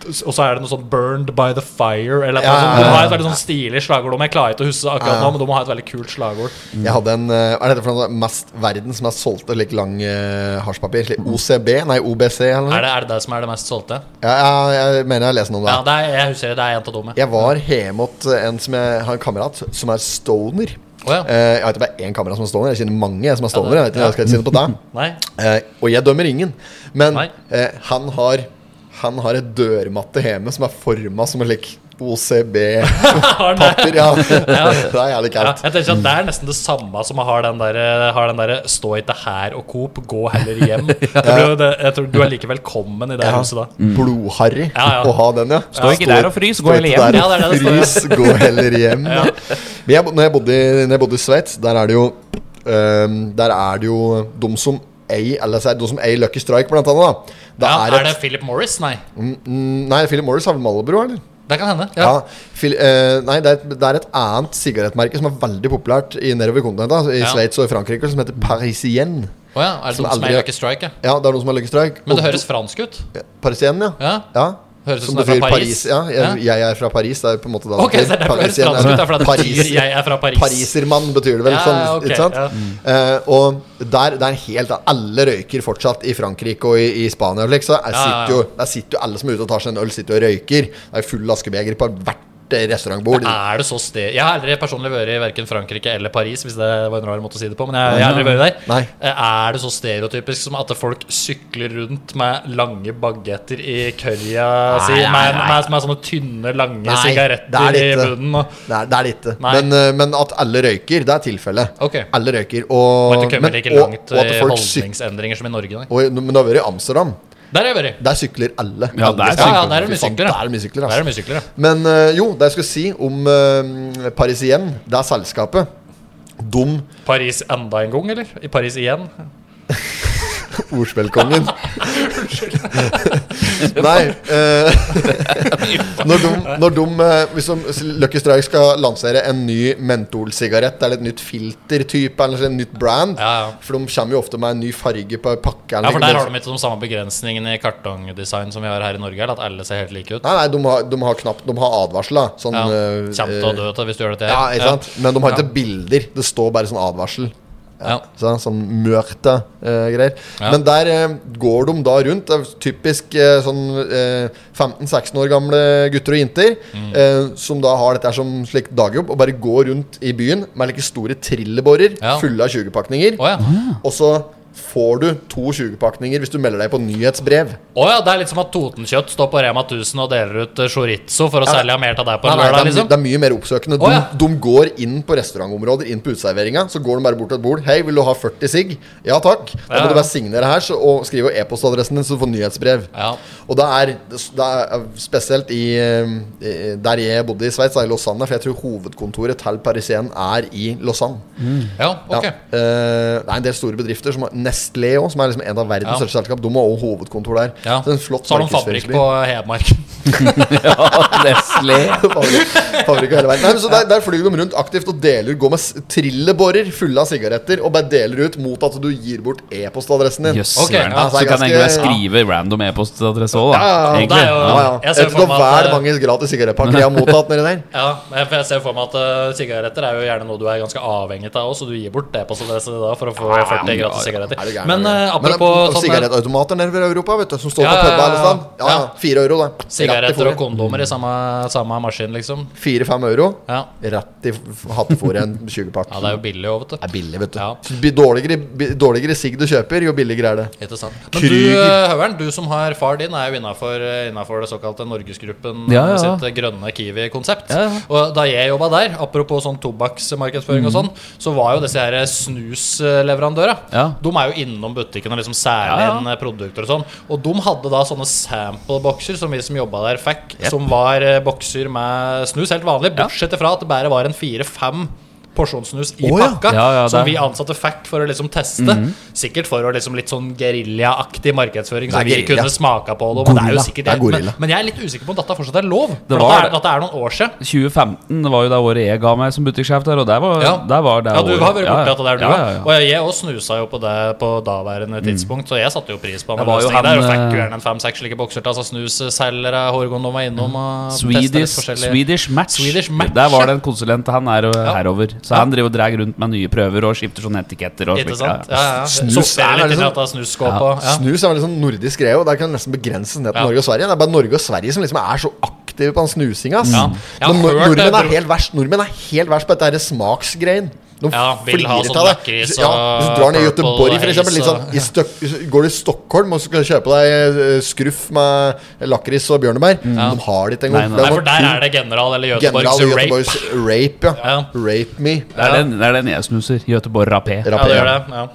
og så er det noe sånn 'Burned by the fire'. Eller noe
Ja, ja,
sånt. De
ja,
har
ja.
et veldig sånn stilig slagord om. Jeg klarer ikke å huske det akkurat
Ja, ja.
nå, men de har et veldig kult slagord.
Jeg hadde en eh, Hva er dette for noe mest, verdens mest solgte like, lang uh, hasjpapir? Like OCB? Nei, OBC, eller noe?
Er det, er det det som er det mest solgte?
Ja, ja, jeg mener jeg har lest noe om det.
Ja, det er, jeg husker det, det er en av dem. ja.
Jeg var hjemme hos eh, en som jeg har en kamerat som er stoner.
Å ja.
Eh, jeg vet ikke bare én kamerat som er stoner. Jeg kjenner mange som er stoner. Jeg vet ikke, jeg skal ikke si det på deg.
Nei?
Eh, og jeg dømmer ingen. Men
Nei.
eh, han har Han har et dørmatte hjemme som er forma som en lik OCB-papir.
Har den det?
Ja. det er jævlig
Ja,
kaldt.
jeg tenker at Det er nesten det samme som har den der, har den der eh, 'stå ikke her og Coop, gå heller hjem'. Jeg tror, jo det, jeg tror Du er like velkommen i det huset da.
Blodharry
Ja, ja.
å ha den, ja.
Stå ikke der og frys, gå
Stå
heller
ikke
hjem.
der
Ja, det er
og
det det
Frys, gå heller hjem. ja. Men jeg, bo- når, jeg bodde, i- når jeg bodde i Sveits, der er det jo øhm, Der er det jo de som eier Eller så er det de som eier Lucky Strike, blant annet. Da. Det
Ja,
er
er det
et,
Philip Morris? Nei.
Mm, Nei, Philip Morris har vel Malbro, eller?
Det kan hende.
Ja.
Ja.
Phil, eh, nei, det er, et, det er et annet sigarettmerke som er veldig populært i nedover kontinentet, altså i
Ja.
Sveits og i Frankrike, som heter Parisienne.
Å ja, er det
Som
noen som
aldri-
er Lucky Strike? Ja.
Ja, det er noen som har Lucky Strike.
Men det
Og-
høres fransk ut.
Parisienne, ja.
Ja. Høres ut som det er
betyr
fra Paris.
Ja, jeg,
Ja.
jeg er fra Paris. Det er på en måte da
Ok, så det er derfor det høres
Parisienne.
fransk ut. Det er fordi det betyr
Paris-
'jeg er fra Paris'.
Parisermann betyr det vel,
Ja,
sånn,
ja, ok,
ikke sant?
ja.
Eh, og der, det er helt Alle røyker fortsatt i Frankrike og i, i Spania. og slik, Så
Ja,
jeg
ja,
sitter
ja.
jo, der sitter jo alle som er ute og tar seg en øl, sitter og røyker. Det er full askebeger på hvert restaurantbord.
Er det så sted Jeg har aldri personlig vært i verken Frankrike eller Paris, hvis det var en rar måte å si det på, men jeg, jeg har aldri vært der. Eh,
Nei.
Er det så stereotypisk som at folk sykler rundt med lange bagetter i kørja si,
Nei, nei,
med,
nei.
med, med sånne tynne, lange
Nei,
sigaretter
det
i
er litt, eh,
munnen? Og,
Det er, det er lite.
Nei.
Men, eh, men at alle røyker, det er tilfellet.
Ok.
Alle røyker. Og,
og at du kommer
men-
like
og-
langt
og at
i
folk syk-
holdningsendringer som i Norge, nei.
og, Men du har vært i Amsterdam.
Der har jeg vært.
Der sykler alle.
Ja,
Alle
der
sykler.
sykler-
Ja, ja, der er det
Fy
mye
faen,
sykler, da.
Der er det mye sykler,
Der
ass.
er det mye sykler, ja.
Men eh, jo, det jeg skulle si om eh, Paris igjen, det er selskapet. Dum
Paris enda en gang, eller? I Paris igjen?
ordspillkongen. Nei eh, Når de, når de eh, Hvis de, Lucky Strike skal lansere en ny mentolsigarett eller et nytt filtertype eller en nytt brand
Ja, ja.
For de kommer jo ofte med en ny farge på pakka.
Ja, for der har de ikke de samme begrensningene i kartongdesign som vi har her i Norge, eller at alle ser helt like ut.
Nei, nei, de har, de har knapt De har advarsel, da. Sånn
Ja.
eh,
Kjem til å dø til hvis du gjør dette
Ja,
her.
ikke sant? Men de har ikke bilder. Det står bare sånn advarsel.
Ja.
Så, sånn mørte eh, greier.
Ja.
Men der eh, går de da rundt. Det er typisk eh, sånn eh, 15-16 år gamle gutter og jenter
Mm.
eh, som da har dette her som slik dagjobb, og bare går rundt i byen med like store trillebårer
Ja.
fulle av 20-pakninger.
Å ja.
Og så får du to 20-pakninger hvis du melder deg på nyhetsbrev.
Å ja, det er litt som at Totenkjøtt står på Rema 1000 og deler ut eh, chorizo for å
Ja,
selge mer til deg på
Nei,
en
nei, det,
lørdag,
er, my-
liksom.
det er mye mer oppsøkende. De,
Å, ja.
de går inn på restaurantområder, inn på uteserveringa. Så går de bare bort til et bord. 'Hei, vil du ha 40 sigg?' 'Ja takk.' Da
Ja,
må
ja.
du bare signere her så, og skrive e-postadressen din, så du får nyhetsbrev.
Ja.
Og det er, det er spesielt i eh, der jeg bodde i Sveits, da, i Lausanne, for jeg tror hovedkontoret til Parisien er i Lausanne.
ja, ok.
Ja. Eh, det er en del store bedrifter, som har- Nestlé òg, som er liksom en av verdens
Ja.
største selskap. De har også hovedkontor der.
Ja.
Så det er en flott
Så har de fabrikk
markedsføringsby.
på Hedmarken.
Ja, Nestlé.
Fabrikk- fabrikk og hele veien. Nei, men så der, der flyr de rundt aktivt og deler Går med s- trillebårer fulle av sigaretter og bare deler ut mot at du gir bort e-postadressen din.
Jøss.
Ok,
søren.
ja,
så
det er
kan jeg egentlig bare
ganske-
skrive random e-postadresse òg, da.
Ja, ja, ja.
egentlig.
Det er jo-
Ja, ja.
Jeg ser
Jeg
for
tror
meg
det
at- eh,
er mange gratis sigarettpakker jeg har mottatt nedi der.
Ja, jeg- for jeg ser for meg at eh, sigaretter er jo gjerne noe du er ganske avhengig av også, så du gir bort det på så det da for å få 40 gratis
Er det
sigaretter.
gærent,
Men
er det
eh,
gærent?
apropos
Men,
sånn, eh,
sigarettautomater nede ved Europa, vet du, som står
Ja,
på
ja,
puben
ja,
alle steder. Ja, ja.
ja.
Fire euro, da.
sigaretter og kondomer i samme, samme maskin, liksom.
Fire-fem euro.
Ja.
Rett i f- hattefôret en 20-pakk.
ja, det er jo billig òg, vet du.
Det er billig, vet du.
Ja.
Bi- Dårligere, bi- dårligere sigg du kjøper, jo billigere er det.
Ikke sant. Men du, eh, Høveren, du som har far din, er jo innafor, det såkalte Norgesgruppen eh,
Ja, ja, ja.
sitt eh, grønne Kiwi-konsept.
Ja, Mhm. ja.
Og da jeg jobba der, apropos sånn tobakksmarkedsføring og sånn, så var jo disse her snusleverandørene.
Ja.
De er jo innom butikken og liksom særlig
Ja, ja.
inn eh, produkter og sånn. Og de hadde da sånne sample-bokser som vi som jobba der, fikk, som var eh, bokser med snus, helt vanlig, bortsett ifra at det bare var en fire-fem porsjonssnus i
Å, ja.
pakka,
Ja, ja,
som
det-
vi ansatte fikk for å liksom teste.
Mhm.
Sikkert for å liksom litt sånn geriljaaktig markedsføring,
Det
så
er
vi
guerilla.
kunne smaka på det. Men det er jo
Gorilla.
sikkert
Det er
men,
gorilla.
men jeg er litt usikker på om dette fortsatt er lov.
Det
For det
var
er,
det.
dette er noen år siden.
2015 var jo det året jeg ga meg som butikksjef der, og der var,
Ja,
der var det
ja du
året.
har vært borti at det er du.
ja, ja, ja.
Og jeg òg snusa jo på det på
Mm.
daværende tidspunkt, så jeg satte jo pris på
Det var jo
løsningen der. Og
han,
fikk jo
eh,
gjerne en fem-seks slike bokser til. Altså snusselgere, Horgon var innom og testet litt
Swedish,
forskjellige-
Swedish, match.
Swedish Match,
Der var
ja.
det en konsulent han er eh, herover. Så han driver og drar rundt med nye prøver og skifter sånne etiketter. Og
Ikke
slik,
sant?
ja.
Ja, ja.
Snus
Sorterer
er
litt
liksom-
inn i at det er snusskåp og ja.
Snus er vel en sånn nordisk greie, og der kan det nesten begrenses ned til
Ja.
Norge og Sverige. Det er bare Norge og Sverige som liksom er så aktive på den snusinga. ass.
Ja. Jeg har
Men nor-
hørt det,
nordmenn
tror-
er helt verst Nordmenn er helt verst på dette her smaksgreien. De
Ja, vil ha
flirer
sånn
av det.
lakris
ja,
og
Hvis du drar ned i
purple
Göteborg, for
haze
eksempel, litt sånn,
og-
i støk, går du i Stockholm og skal kjøpe deg eh, skruff med lakris og bjørnebær De har det ikke engang.
Nei, nei.
Mm.
Det
Nei,
er
for der er det general eller Göteborgs
General
rape.
Göteborgs rape, ja.
Ja.
Rape me.
Det er den, det er den jeg snuser. Göteborg Rapé.
Rapé.
Ja, det gjør det. Ja.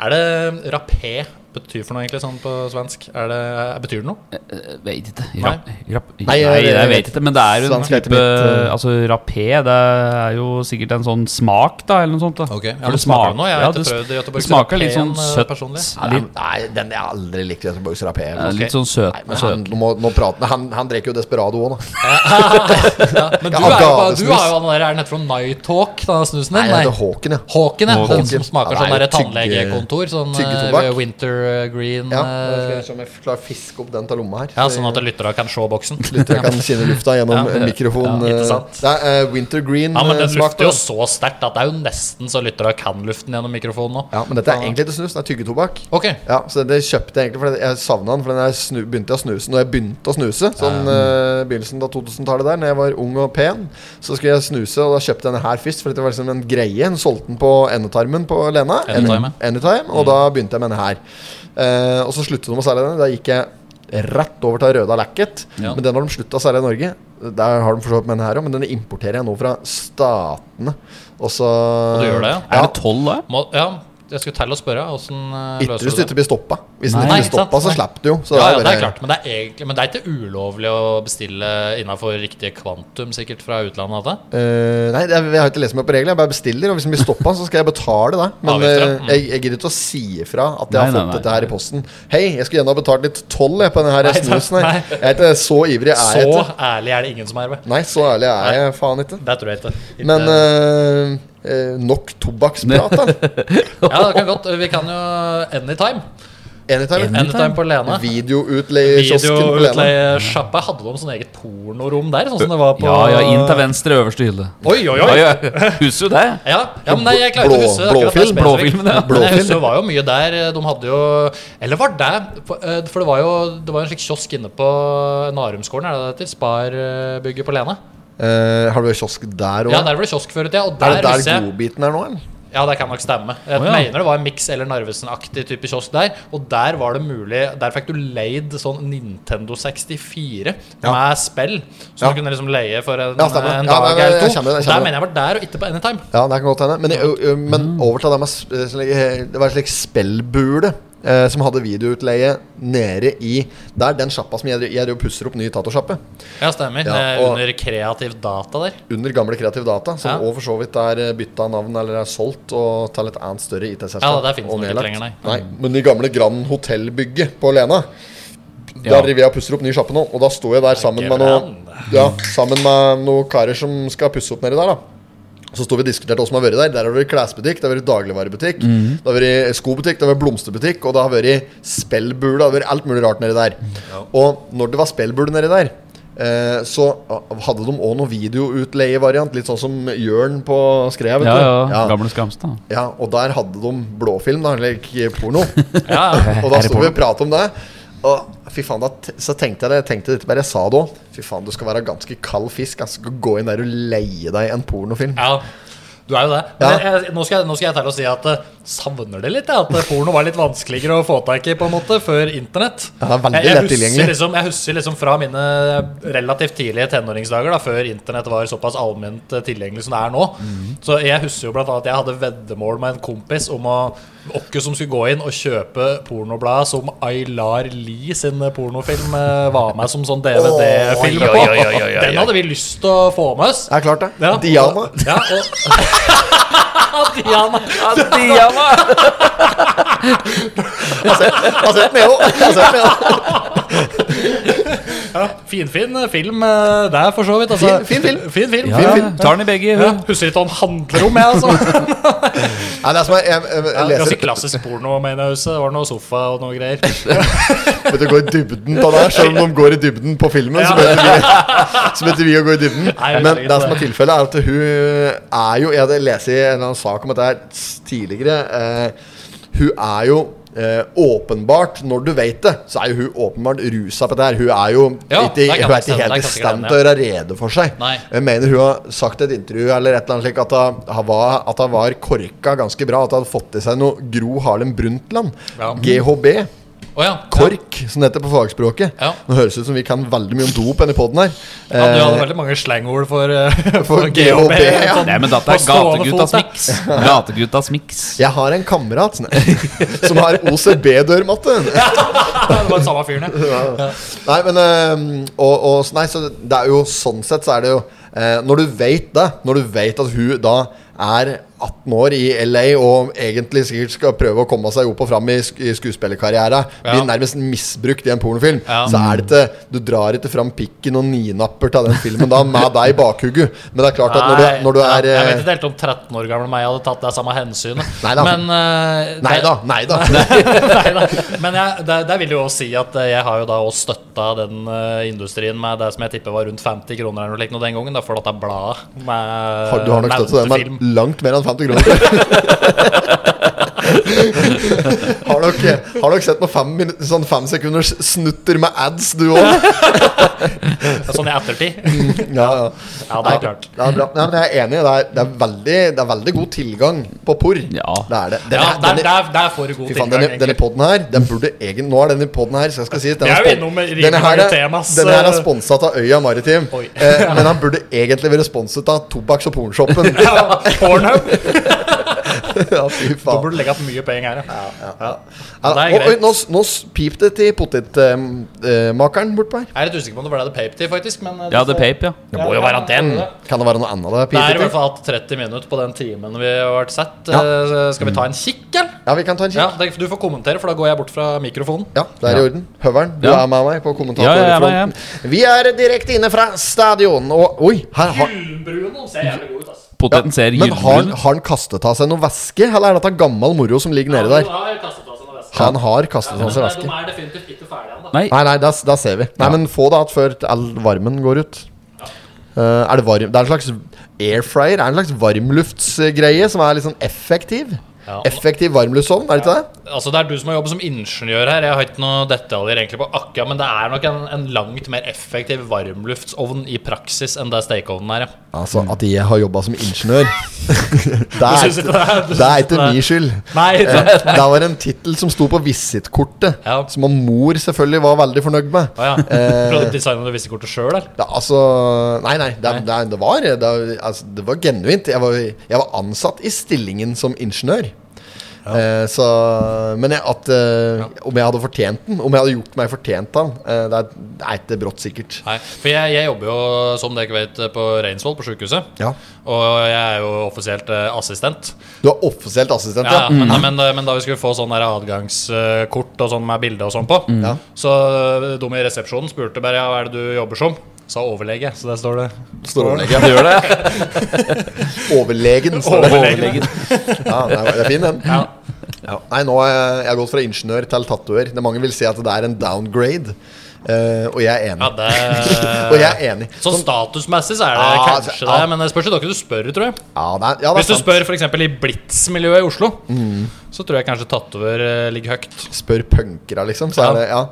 Er det rapé betyr for noe, egentlig, sånn på svensk? Er det, betyr det noe?
Eh, Vet ikke.
Nei.
Rap, rap, nei,
jeg-
jeg, vet
jeg vet
ikke. Men det er jo en
Svensk heter
type
mitt, eh.
Altså Rapé, det er jo sikkert en sånn smak, da, eller noe sånt. da
Ok, ja,
For
det smaker noe. Jeg har
ja,
ikke
det s-
prøvd Göteborgs
det smaker litt
Rapé,
sånn
eh,
søtt.
personlig.
Litt,
Nei, den jeg har aldri likt Göteborgs rapé.
eh,
ok.
litt sånn søt.
Men
søt.
han, nå må, nå prater, han, han dreker jo Desperado òg, da.
Men du,
Ja,
er jo, bare- du
gavesnus.
har jo den der, er den hett for Night Hawk, den snusen
Nei,
din?
det er Håken, ja.
Håken, ja. Den
Håken.
som smaker
Ja, det
sånn
er
der
jo tygge-
tannlegekontor. Sånn eh,
tyggetobakk.
winter Evergreen
Ja, jeg skal
eh,
liksom jeg klarer å fiske opp den til lomma her.
ja, Sånn at lytterne kan se boksen.
Lyttere kan kjenne lufta gjennom
Ja, det-
mikrofonen.
ja,
eh,
interessant.
det er eh, wintergreen
Ja, men
eh,
den
smak på
lukter jo
den.
så sterkt at det er jo nesten så lyttere kan luften gjennom mikrofonen nå.
Ja, men dette er egentlig ikke snus, det er tyggetobakk.
Ok.
Ja, så det kjøpte jeg egentlig fordi jeg savna den. For den jeg snu, begynte jeg å snuse Når jeg begynte å snuse, sånn eh, begynnelsen av 2000-tallet der, Når jeg var ung og pen, så skulle jeg snuse, og da kjøpte jeg denne her først. Fordi det var liksom en greie. Hun solgte den på Endetarmen på Lena.
Anytime, ja. Mm.
Anytime, og da begynte jeg med denne her. Eh, og så sluttet de å selge denne. Da gikk jeg rett over til Røda Lacket.
Ja.
Men den har de slutta å selge i Norge. Der har de forstått med den her òg, men den importerer jeg nå fra Statene. Og så
Og du gjør det, ja?
Er det tolv, da?
Må, ja, jeg skulle til å spørre. Åssen løser
Ytterst
du
ikke
det?
blir stoppa. Hvis den
Nei,
ikke blir
ikke sant?
stoppa, så
Nei.
slipper du jo. Så
Ja, ja,
bare-
det er klart, men det er, egentlig, men det er ikke ulovlig å bestille innafor riktige kvantum, sikkert, fra utlandet? Dette.
Eh, nei, jeg, jeg har ikke lest meg på reglene. Jeg bare bestiller. Og hvis den blir stoppa, så skal jeg betale det. Men
Avgifter, ja. Mm.
eh, jeg, jeg gidder ikke å si ifra at jeg
Nei,
har
nei,
fått
nei.
dette her i posten. Hei, jeg skulle gjerne ha betalt litt toll jeg, på denne her
Nei,
snusen her.
nei.
Jeg er ikke så ivrig er jeg
Så
ikke.
ærlig er det ingen som er, vel?
Nei, så ærlig er jeg faen ikke.
Det tror jeg ikke. Ikke-
Men eh, eh, nok tobakksprat, da. eh,
Ja, det kan godt. Vi kan jo Anytime.
Anytime.
Anytime på Lene.
Videoutleie-kiosken på Lena.
Videoutleiesjappa hadde de sånn eget pornorom der, sånn som det var på
Ja, ja, inn til venstre øverste hylle.
Oi, oi,
Ja,
oi.
ja. Husker du det?
Ja, ja, men nei, jeg klarer ikke å
Blå-
huske akkurat det
blåfilm,
spesifikt.
blåfilmen, ja.
Men jeg
Blåfilm.
husker det var jo mye der. eh, De hadde jo Eller var det For eh, for det var jo det var en slik kiosk inne på Narumskolen, er det det heter? Sparbygget på Lena.
Eh, har du en kiosk der òg?
Ja, der var det kiosk før i tida. Og
er det
der,
der
husker jeg
godbiten er nå, eller?
Ja, det kan nok stemme. Jeg
Å, ja.
mener det var en Mix eller Narvesen-aktig type kiosk der. Og der var det mulig Der fikk du leid sånn Nintendo 64
Ja.
med spill. Som
Ja.
du kunne liksom leie for en,
Ja, stemmer.
en
Ja,
dag
nei, nei,
eller
jeg
to.
kjenner
Og
det, jeg kjenner
der mener jeg var der, og ikke på Anytime.
Ja, det kan godt hende. Men, ø, ø, men
Mm.
over til det med sp- eh, slik- eh, Det var en slik spellbule eh, som hadde videoutleie nede i Der den sjappa som jeg, dri- jeg driver og pusser opp ny tatosjappe.
Ja, stemmer.
Ja,
Det er
og-
Under kreativ data der.
Under gamle Kreativ Data, som
Ja.
også for så vidt er bytta navn eller er solgt og til et annet større IT-selskap.
Ja, der finnes
og
den ikke
nedlagt.
lenger, nei.
Men de gamle Grand Hotell-bygget på Lena Der
Ja.
driver jeg og pusser opp ny sjappe nå, og da sto jeg der sammen med noen Ja, sammen med noen karer som skal pusse opp nedi der, da. Så sto vi og diskuterte hva som har vært der. Der har det vært klesbutikk, det har vært dagligvarebutikk,
Mhm.
det har vært skobutikk, det har vært blomsterbutikk, og det har vært spellbule. Det har vært alt mulig rart nedi der.
Mhm.
Og når det var spellbule nedi der, eh, så hadde de òg noe videoutleievariant, litt sånn som Jørn på Skrea, vet
Ja, ja.
du. Ja,
Gamle Skamstad.
ja, og der hadde de blåfilm, da, eller ikke porno.
Ja, ja.
Og da sto vi og pratet om det. Og fy faen, da, t- så tenkte jeg det, jeg tenkte dette, men jeg sa det òg. Fy faen, du skal være ganske kald fisk. Altså, du skal gå inn der og leie deg en pornofilm.
ja. Du er jo det.
Ja.
Men jeg, nå, skal jeg, nå skal jeg til å si at jeg savner det litt. jeg, At eh, porno var litt vanskeligere å få tak i på en måte før internett.
Ja, det er veldig
jeg, jeg,
lett tilgjengelig.
husker liksom, jeg husker liksom fra mine relativt tidlige tenåringsdager, da, før internett var såpass allment eh, tilgjengelig som det er nå.
Mhm.
Så jeg husker jo blant annet at jeg hadde veddemål med en kompis om å Åkke som skulle gå inn og kjøpe pornobladet som Aylar Lie sin pornofilm eh, var med som sånn DVD-film
Oi,
på.
oi, oi, oi, oi,
Den hadde vi lyst til å få med oss.
Det er klart, det.
Ja,
Diana.
og- Ja, og Diana.
Altså, jeg er med jo. Altså, jeg er med jo.
Finfin film eh, der, for så vidt. Altså.
Fin- fin film.
Fin film.
Ja,
Fin film.
tar den i begge.
Ja,
Hun.
husker ikke hva den handler om, jeg, altså.
Nei, det er som jeg, jeg, jeg, jeg
Ganske
leser
klassisk porno, mener jeg. husker. Det var noe sofa og noe greier.
Eh. Vet du, går i dybden på det her, Selv om de går i dybden på filmen, så vet vi, så vet vi å gå i dybden.
Nei,
Men
det er
det som er tilfellet, er at hun er jo Jeg hadde lest i en eller annen sak om dette her tidligere. Eh, hun er jo Eh, åpenbart, når du vet det, så er jo hun åpenbart rusa på dette her. Hun er jo
Ja,
ikke,
det kan
hun
stemme,
er ikke
det
helt i
kan
stand
stemme,
til å gjøre rede for seg.
Nei.
Jeg mener hun har sagt i et intervju eller et eller annet slik at hun- hun var, at hun var korka ganske bra. At hun hadde fått i seg noe Gro Harlem Brundtland.
Ja.
GHB.
Å ja.
KORK, som det heter på fagspråket.
Ja.
Nå høres det ut som vi kan veldig mye om dop denne podden her.
Ja, du hadde
Eh,
veldig mange slangord for, eh,
For GHB, ja.
sånn
Nei, men dette
på
er
stående
gateguttas
fot, ja.
miks. Gateguttas miks.
jeg har en kamerat sånn, som har OCB-dørmatte.
Det var den samme fyren, ja.
Nei, men eh, og, og, så- Nei, så det er jo sånn sett så er det jo eh, Når du vet det, når du vet at hun da er 18 år i LA og egentlig sikkert skal prøve å komme seg opp og fram i, sk i skuespillerkarriere, blir nærmest misbrukt i en pornofilm,
Ja.
så er det ikke Du drar ikke fram pikken og ninapper til den filmen da, med deg i bakhugget. Men det er klart at når du, når du
Nei,
er
Jeg
eh,
vet ikke helt om 13 år gamle meg hadde tatt det samme hensynet.
Nei da.
Men, eh,
Nei
det-
da, nei da.
Nei da. Men jeg, der, der vil jeg jo også si at eh, jeg har jo da også støtta den eh, industrien med det som jeg tipper var rundt 50 kroner eller noe likt nå den gangen, da, for dette bladet med
Har- Du har nok støtt til den,
nevnte film.
men langt mer enn 50 kroner. har, dere, har dere sett noen fem, min- sånn fem sekunders snutter med ads, du òg?
Sånn i ettertid.
Ja, ja.
Ja, det er klart.
Det er bra. Nei, men jeg er enig. Det er, det, er veldig, det er veldig god tilgang på porr.
Ja.
Det er det. Den
Ja,
er-
det er,
den er-
det er, det er for god
Fy faen,
tilgang,
denne, denne
egentlig.
podden her den burde egen, Nå er denne podden her så jeg skal si, at den
Jeg er jo
spon-
innom med rimelig
denne, her,
mange
er-
temas,
denne her er
eh.
sponsa av Øya Maritim.
Oi.
Eh, men han burde egentlig vært sponset av Tobakks- og Pornshoppen.
Ja, Pornhub.
ja, fy
Da
faen.
burde du legge opp mye penger her. Ja. Ja.
Ja,
det er
og,
greit.
oi, nå, s- nå s- pip det til ehm, eh, potetmakeren bortpå her.
Jeg er litt usikker på om det ble The Pape til, faktisk. Men eh,
Ja,
det
The Pape, ja.
Det må jo være den.
Kan det være noe annet det er
Det er
pipet
i hvert
til?
fall hatt 30 minutter på den timen vi har vært sett.
Ja.
Eh, Skal vi ta en kikk, eller?
Ja, vi kan ta en
Ja,
kikk.
det- du får kommentere, for da går jeg bort fra mikrofonen.
Ja, det er i orden. Høveren, du
Ja.
er med meg på
Ja, ja, jeg er med,
kommentatorfronten. Vi er direkte inne fra stadion, og oi her har,
Gyllenbruno ser jævlig god ut, ass.
ja,
Poteten ser
Men har, han-
gyllenbrun ut.
har han kastet av seg noe væske, eller er dette gammel moro som ligger nede der?
sånn,
Han har kastet av seg væske.
er definitivt ikke ferdige ennå.
Nei,
Nei, nei, da, s- da ser vi. Nei, men få det att før t- all varmen går ut. Eh, er det varm Det er en slags airfryer? Er det en slags varmluftsgreie som er litt sånn effektiv?
Ja.
Effektiv varmluftsovn, er det ikke det?
Altså, det er du som har jobbet som ingeniør her. Jeg har ikke noen detaljer egentlig på akkurat, men det er nok en, en langt mer effektiv varmluftsovn i praksis enn det stekeovnen er. ja.
Altså, at jeg har jobba som ingeniør Det er,
synes ikke det er- du
det er
synes
ikke
det er-
min skyld.
Nei,
Eh, Det var en tittel som sto på visittkortet,
Ja.
som om mor selvfølgelig var veldig fornøyd med.
Å ja.
eh.
Produktdesignet du visste kortet sjøl, eller?
Det, er altså Nei, nei, det, er- Det, er- det var det, er- altså, det var genuint. Jeg var, jeg var ansatt i stillingen som ingeniør. Eh, så Men jeg, at eh, om jeg hadde fortjent den, om jeg hadde gjort meg fortjent av den, eh, det, er, det er ikke brått sikkert.
Nei, for jeg, jeg jobber jo, som dere ikke vet, på Reinsvoll, på sykehuset.
Ja.
Og jeg er jo offisielt eh, assistent.
Du er offisielt assistent,
Ja,
ja? Mm.
ja, men, men, men da vi skulle få sånn der adgangskort og sånn med bilde og sånn på,
Mm. Ja.
så de i resepsjonen spurte bare ja, hva er det du jobber som? Sa overlege, så der står det.
Mm, Står overlegen.
det gjør det.
Overlegen. står det.
Overlegen.
Ja, det er, det er fin den. Ja. Nei, nå har jeg, jeg har gått fra ingeniør til tatover. Det mange vil si at det er en downgrade, eh, og jeg
Ja,
er enig.
det,
Og jeg er enig.
Så statusmessig så er det
Ja,
kanskje
altså, ja.
det, men det spørs jo dere du spør, tror jeg.
Ja, det er, ja, det
Hvis
er
du
sant. Mm.
spør f.eks. i Blitz-miljøet i Oslo, så tror jeg kanskje tatover eh, ligger høyt.
Spør punkere, liksom. Så
Ja.
er det, ja.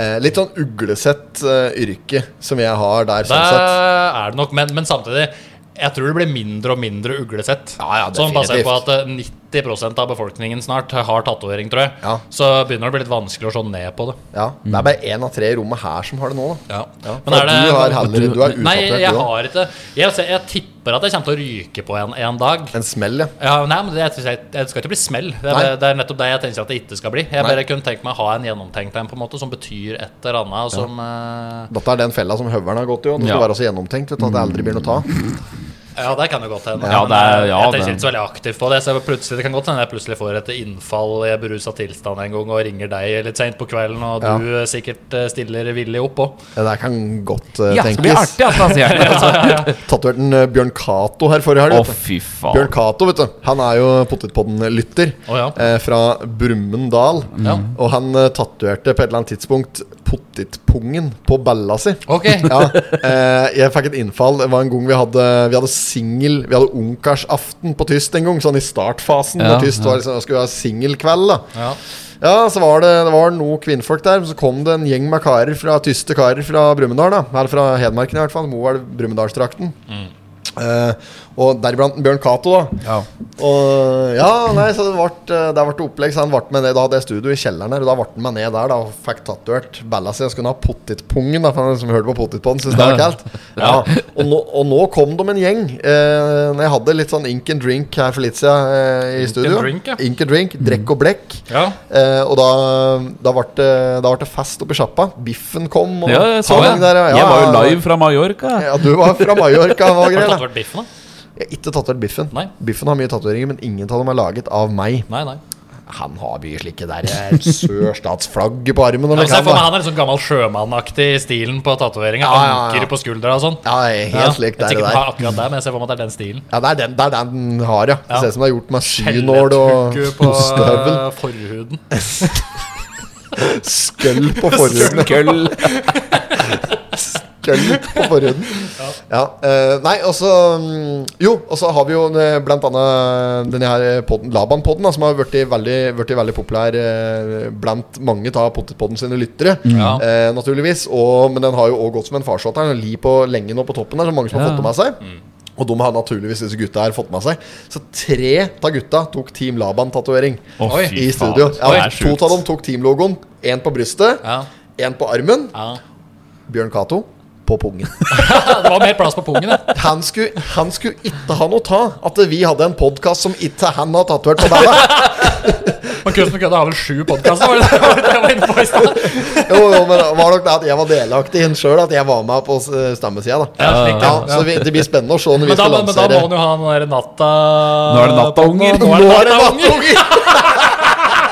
Eh, litt sånn uglesett eh, yrke som jeg har der,
Det
sånn sett.
er det nok, men, men samtidig jeg tror det blir mindre og mindre uglesett.
Ja, ja,
sånn basert
definitivt.
på at eh, 90 av befolkningen snart har tatovering, tror jeg.
Ja.
Så begynner det å bli litt vanskelig å se ned på det.
Ja, Det er bare én av tre i rommet her som har det nå, da.
Men er det
du har heller Du er
Nei,
utdatert,
jeg
du òg.
har ikke jeg, ser- jeg tipper at jeg kommer til å ryke på en, en dag.
En smell, ja.
Ja, nei, men det, jeg, tror jeg- det skal ikke bli smell. Det
Nei.
er, det er nettopp det jeg tenker at det ikke skal bli. Jeg
Nei.
bare kunne tenkt meg å ha en gjennomtenkt en på en måte som betyr et eller annet. og Som, eh,
Dette er den fella som høveren har gått i. Og det skal
Ja.
være så gjennomtenkt vet du, at det aldri blir noe å ta.
Ja, det kan jo godt hende.
Ja,
Men eh,
det er- ja,
jeg tenker
det-
ikke så veldig aktivt på det. Så jeg plutselig, det kan godt hende jeg plutselig får et innfall i berusa tilstand en gang og ringer deg litt seint på kvelden, og
Ja.
du eh, sikkert eh, stiller villig opp òg.
Det der kan godt eh,
Ja, det blir
tenkes.
artig, altså, sier han. altså.
Tatovert en eh, Bjørn Cato her forrige helg.
Å,
vet du.
fy
Bjørn
faen.
Cato, vet du. Han er jo Potetpodden-lytter.
Å, ja.
eh, fra Brumunddal.
Ja.
Og han eh, tatoverte på et eller annet tidspunkt potetpungen på balla si.
Ok.
Ja, eh, jeg fikk et innfall. Det var en gang vi hadde, vi hadde singel Vi hadde ungkarsaften på Tyst en gang, sånn i startfasen.
Ja,
når Tyst var liksom, skulle ha singelkveld. da
Ja.
ja, så var det, det var noen kvinnfolk der, men så kom det en gjeng med karer fra tyste karer fra Brumunddal. da. Eller fra Hedmarken, i hvert fall. Moelv, Brumunddalstrakten. Eh, og deriblant Bjørn Cato, da. Og ja, nei, så det ble, det ble opplegg. Så han ble med ned Da hadde jeg studio i kjelleren der, og da ble han med ned der da og fikk tatovert balla si. Jeg skulle ha potetpungen, da, for han som hørte på potetpungen, syntes det var kaldt. Ja. Og, nå, og nå kom de en gjeng. Eh, når jeg hadde litt sånn ink and drink her for litt siden eh, i studio.
drink, ja.
Ink and drink,
Mm.
drekk og blekk.
Ja.
Eh, og da, da, ble det, da ble det fest oppe i sjappa. Biffen kom. Og
Ja, jeg så
hang
det.
der, ja.
Jeg var jo
Ja,
live fra Mallorca.
Ja, du var fra Mallorca. Var
Har du
greit,
tatt
da.
vekk biffen, da?
Jeg har ikke tatovert Biffen.
Nei.
Biffen har mye tatoveringer, men ingen av dem er laget av meg.
Nei, nei.
Han har mye slike der eh, sørstatsflagget på armen. Eller
Altså,
hva
jeg får meg,
han, da.
han er litt sånn gammel sjømannaktig i stilen på tatoveringa.
Ja, ja, ja.
Anker på skuldra og sånn.
Ja, jeg er helt lik
jeg
der.
tenker
det
ikke på
der.
akkurat der, men jeg ser for meg at det er den stilen.
Ja, det er den, det er den den har, ja. Det
Ja.
ser ut som det er gjort med synål og
Skjelletthugge på
ostehøvel.
eh, forhuden.
Skøll på forhuden.
Køll.
Køll på forhuden. Ja. eh, nei, og så mm, Jo, og så har vi jo eh, blant annet denne her eh, podden, Laban-podden, da, som har blitt veldig, vært veldig populær eh, blant mange av Pottetpodden sine lyttere.
Mm. Ja.
eh, naturligvis. Og, men den har jo òg gått som en farsott her. Den ligger på lenge nå på toppen her, så mange som har
Ja.
fått det med seg. Og de har naturligvis disse gutta her fått med seg. Så tre av gutta tok Team Laban-tatovering
Å, fy faen.
i studio.
Det
Ja,
er
to
sjukt.
av dem tok Team-logoen. Én på brystet,
Ja.
én på armen.
Ja.
Bjørn Cato på pungen.
Det var mer plass på pungen, det.
Han skulle, han skulle ikke ha noe ta at vi hadde en podkast som ikke han har tatovert på deg.
Men Kunsten Kødda har vel sju podkaster, var det det var det jeg var inne på i stad?
Jo, jo, men det var nok det at jeg var delaktig i den sjøl, at jeg var med på eh, stemmesida, da.
Ja, slik,
Ja,
ja.
så vi, det blir spennende å se når vi
Men da,
skal
men da må
lansere.
han jo ha den der natta
Nå er det nattaunger.
Nå
Nå
er det
natt,
nattaunger!
unger!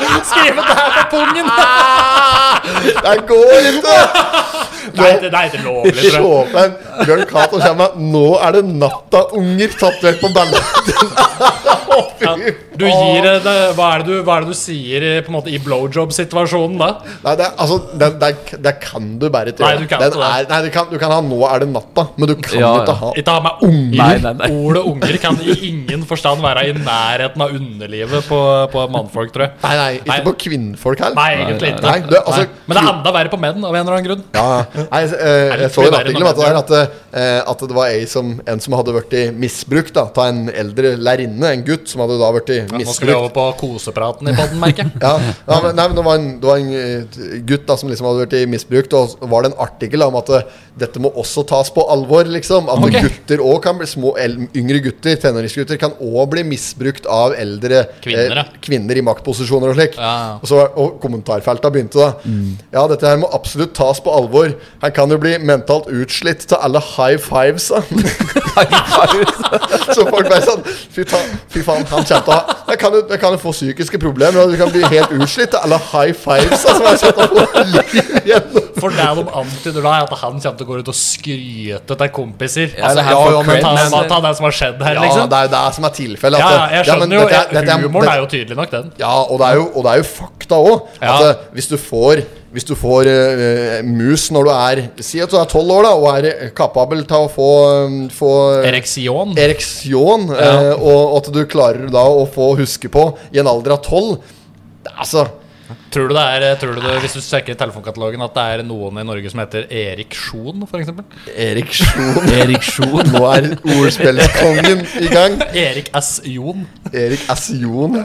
Skrive det her på pungen!
Det går ikke!
Nei, det, det er ikke lovlig, tror jeg.
Sjåpen, Bjørn Cato kommer med 'Nå er det natta, unger' tatovert på ballen.
Du gir det, det, hva, er det du, hva er det du sier eh, på en måte i blowjob-situasjonen da?
Nei, det, er- altså, det, det, er- det kan du bare ikke
Nei,
gjøre.
du kan
Den
ikke det.
er- nei, du kan- du kan ha 'Nå er det natta', men du kan
Ja,
ikke
ja.
ha
Ikke ha med unger.
Nei, nei, nei.
Ordet unger kan i ingen forstand være i nærheten av underlivet på, på mannfolk, tror jeg.
Nei, nei, ikke
Nei.
på kvinnfolk heller.
Nei, egentlig ikke.
Nei, du, altså,
Nei. Men det er enda verre på menn, av en eller annen grunn.
Ja, nei, jeg, eh, jeg så i en artikkel om dette her at, eh, at det var ei som, en som hadde blitt misbrukt da, av en eldre lærerinne, en gutt, som hadde da blitt
Nå skal vi
misbrukt.
over på kosepraten i podden, merker jeg.
Ja, ja, men, nei, men det var en, det var en eh, gutt da, som liksom hadde vært i misbrukt, og så var det en artikkel om at eh, dette må også tas på alvor. liksom At
Ok.
gutter også kan bli små, el, yngre gutter, tenåringsgutter, kan òg bli misbrukt av eldre eh,
Kvinner, ja.
kvinner i maktposisjoner og slik.
Ja. Mm.
Og, så, og kommentarfelta begynte da. Ja, dette her må absolutt tas på alvor. Han kan jo bli mentalt utslitt til alle high fives. Da. Så folk bare sånn Fy, ta, fy faen, han kommer til å ha jeg kan, jo, jeg kan jo få psykiske problemer, og du kan bli helt utslitt av alle high fives. Altså, jeg satt og liv igjen.
For det de antyder da, er at han kommer til å gå ut og skryte til kompiser. Altså,
Ja, det her
ja,
får
ja, men
cred,
Ta,
men-
ta, ta det som har skjedd her,
Ja,
liksom.
det er jo det som er
Ja,
tilfellet.
ja,
at-
jeg
ja, men
skjønner jo.
dette er- dette
jeg- Humoren
dette-
er jo tydelig nok, den.
Ja, og det er jo, og det er jo fakta òg.
Ja.
Hvis du får, hvis du får eh, mus når du er Si at du er tolv år da og er kapabel til å få, eh, få
Ereksjon.
ereksjon, eh, og at du klarer da å få huske på i en alder av tolv Altså
Tror du det er, tror du det, hvis du sjekker i telefonkatalogen, at det er noen i Norge som heter Erik Sjon, for eksempel?
Ereksjon
Erik Sjon.
Nå er ordspillkongen i gang.
Erik S. Jon.
Erik S. Jon.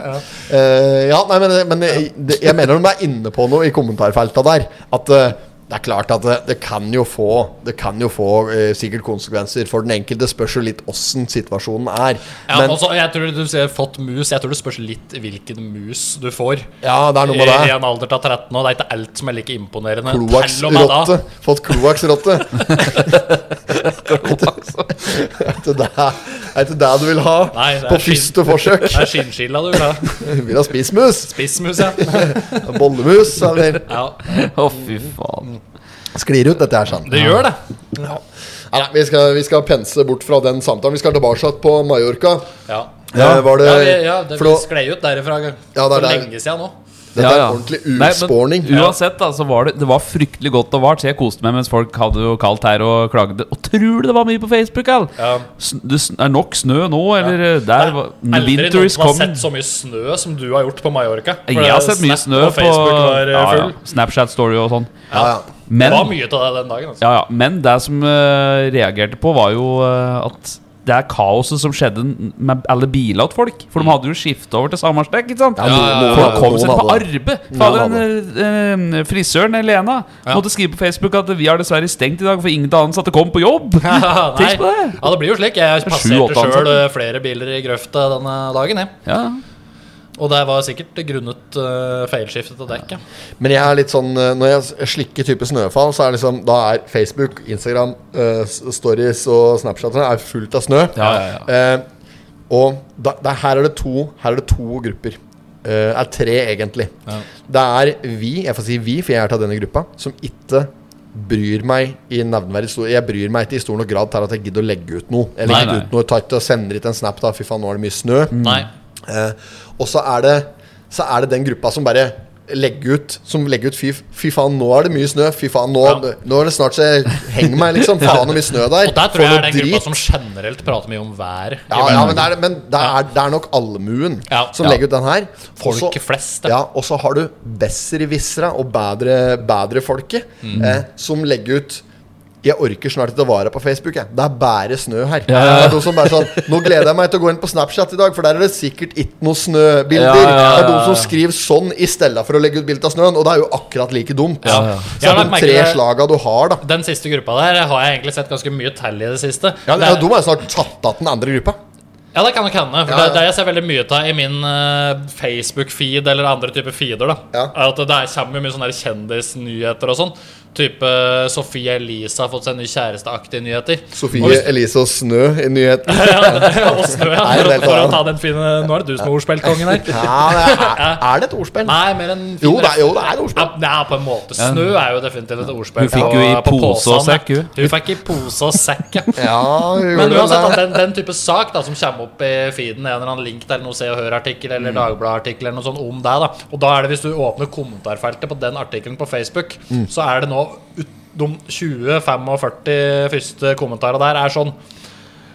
Eh, ja, nei, men, men jeg, det- jeg mener de er inne på noe i kommentarfelta der. At eh, det er klart at eh, det, det kan jo få Det kan jo få eh, sikkert konsekvenser for den enkelte. Spørs jo litt åssen situasjonen er.
Ja,
men
også, jeg tror du sier fått mus. Jeg tror det spørs litt hvilken mus du får.
ja, det er
I,
noe med
I
det.
en alder av 13 år. Det er ikke alt som er like imponerende. Til og med da.
Kloakksrotte. Fått kloakksrotte. er ikke det er ikke det du vil ha
Nei, det er
på
skinn.
første forsøk?
Det er skinnskilla du vil ha.
Vil ha spissmus?
Spissmus, ja.
Bollemus? Eller
ja.
Å, fy faen.
sklir ut, dette her, sant?
Det gjør det.
Nei, nei, vi, skal, vi skal pense bort fra den samtalen. Vi skal tilbake på Mallorca.
Ja.
Ja. var det,
Ja, vi, ja, det,
for
vi
nå-
sklei ut derifra
Ja, det er
for
der.
lenge siden nå.
Dette
Ja,
er
ja.
ordentlig
Nei, men
ursporning.
Uansett, da, så var det, det var fryktelig godt og vart, så jeg koste meg mens folk hadde jo kaldt her og klagde. Og tror du det var mye på Facebook, al?
Ja.
Sn- Det sn- er nok snø nå, eller eh, der var-
Aldri
Winter
noen
is
som har
coming.
sett så mye snø som du har gjort på Mallorca. For
Jeg har
det-
sett mye
Snap
snø
og
på
Facebook var eh,
ja, ja.
full.
Snapchat Story og sånn.
Ja, ja.
Men,
Det var mye av det den dagen. Altså.
ja, ja, men det som eh, reagerte på, var jo eh, at det er kaoset som skjedde n- med alle biler til folk. For
Mm.
de hadde jo skiftet over til Samarsdekk, ikke sant?
Ja, noen- noen
Folk
hadde-
kom seg
noen
på
hadde det.
arbeid.
Noen
Fader, den,
hadde
eh, eh, frisøren Lena måtte skrive på Facebook at vi har dessverre stengt i dag, for ingen av ansatte kom på jobb.
Nei.
Tenk på det.
Ja, det blir jo slik. Jeg
sju, åtte
eh,
altså.
passerte
ansatte.
sjøl flere biler i grøfta denne dagen. Jeg.
Ja.
Og det var sikkert grunnet uh, feilskiftet av dekk. Ja.
Mm.
Men jeg er litt sånn eh, Når jeg slikker type snøfall, så er liksom Da er Facebook, Instagram, eh, s- stories og Snapchat er fullt av snø.
Ja, ja, ja.
Eh, og da, da, her, er det to, her er det to grupper. Eh, er tre, egentlig. Det er vi, jeg får si vi, for jeg er til denne gruppa, som ikke bryr meg i nevneverdig stor Jeg bryr meg ikke i stor nok grad til at jeg gidder å legge ut noe. Jeg
Nei,
legger
nei.
ut noe tight og sender ikke en snap da. Fy faen, nå er det mye snø.
Nei.
Eh, og så er, det, så er det den gruppa som bare legger ut Som legger ut fy, fy faen, nå er det mye snø. Fy faen, nå,
Ja.
nå er det snart så jeg henger meg, liksom. Faen, så mye snø der.
Og der
Får
tror jeg
noe
er den gruppa
drit.
som generelt prater mye om vær.
ja, ja, men, det er, men det, er, det er nok allmuen
Ja.
som
Ja.
legger ut den her.
Folket
Også-
flest, det.
Ja, og så har du besserwissera og bedre, bedre folket
Mm.
eh, som legger ut jeg orker snart ikke å vare på Facebook. Jeg. Det er bare snø her. Det er noen som bare sånn, Nå gleder jeg meg til å gå inn på Snapchat i dag, for der er det sikkert ikke noen
Ja,
snøbilder.
ja, ja,
Det er noen
ja.
som skriver sånn i stedet for å legge ut bilde av snøen, og det er jo akkurat like dumt.
Ja, ja.
Så
Jeg har
det er
lagt
de
merke
tre
til-
slaga du har, da.
Den siste gruppa der har jeg egentlig sett ganske mye tall i det siste.
Ja,
det,
det er, de er snart tatt av den andre gruppa.
ja, det kan nok hende. For
Ja, ja.
Det, det jeg ser veldig mye av i min eh, Facebook-feed eller andre typer feeder, da,
Ja.
er at det der kommer jo mye sånne der kjendisnyheter og sånn. Type eh, Sofie Elise har fått seg en ny kjæresteaktige nyheter. Og
Sofie
hvis-
Elise og snø i nyheten.
ja, og snø, ja,
Nei,
for, å-
det er
for å
sant.
ta den fine Nå er det du som er ordspillkongen her.
Ja, det er, er det et ordspill?
Nei, mer enn
Jo, det er- jo, det er et ordspill.
Ja, Nei, på en måte. Snø er jo definitivt et ordspill.
Hun fikk
på-
jo i
på
pose og
påsene.
sekk, hun.
Hun fikk i pose og sekk, ja.
Ja, vi
Men
gjorde vel
uansett,
det.
at den, den type sak da, som kommer opp i feeden, en eller annen link til noe Se og Hør-artikkel eller
Mm.
Dagbladet-artikkel eller noe sånt om deg, da. Og da er det hvis du åpner kommentarfeltet på den artikkelen på Facebook,
Mm.
så er det nå ut- de 20-45 første kommentarene der er sånn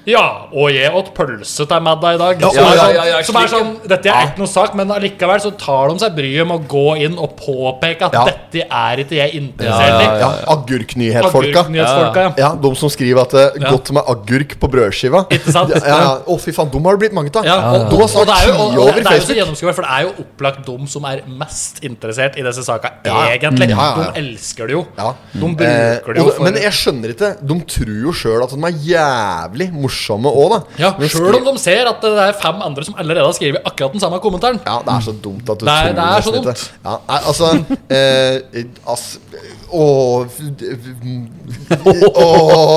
ja, og jeg åt pølse til middag i dag.
Ja,
som, er
ja,
sånn,
ja, ja,
som er sånn
slik.
Dette er ikke noe sak, men allikevel så tar de seg bryet med å gå inn og påpeke at
Ja.
dette er ikke jeg interessert i.
Ja, Agurknyhetfolka.
Agurknyhetsfolka, ja.
Ja, De som skriver at det er godt med agurk på brødskiva.
Ikke sant?
Ja, ja. Å, fy faen, dem har det blitt mange av.
Ja, og,
De
og,
har
og det
snart
er jo, og,
ti
og
over
det er jo så
Facebook.
gjennomskuelig, for det er jo opplagt de som er mest interessert i disse sakene,
Ja, ja.
egentlig.
Ja, ja, ja.
De elsker det jo.
Ja.
De
Eh,
bruker det
og
jo
det-
for
men jeg skjønner ikke. De tror jo sjøl at de er jævlig morsomme òg, da.
ja,
Men
Sjøl om
skri-
de ser at det er fem andre som allerede har skrevet akkurat den samme kommentaren.
ja, det er så dumt at du
Det er-
tror
det er så
nesten
dumt.
ikke. Ja, nei, altså eh, ass, Å, å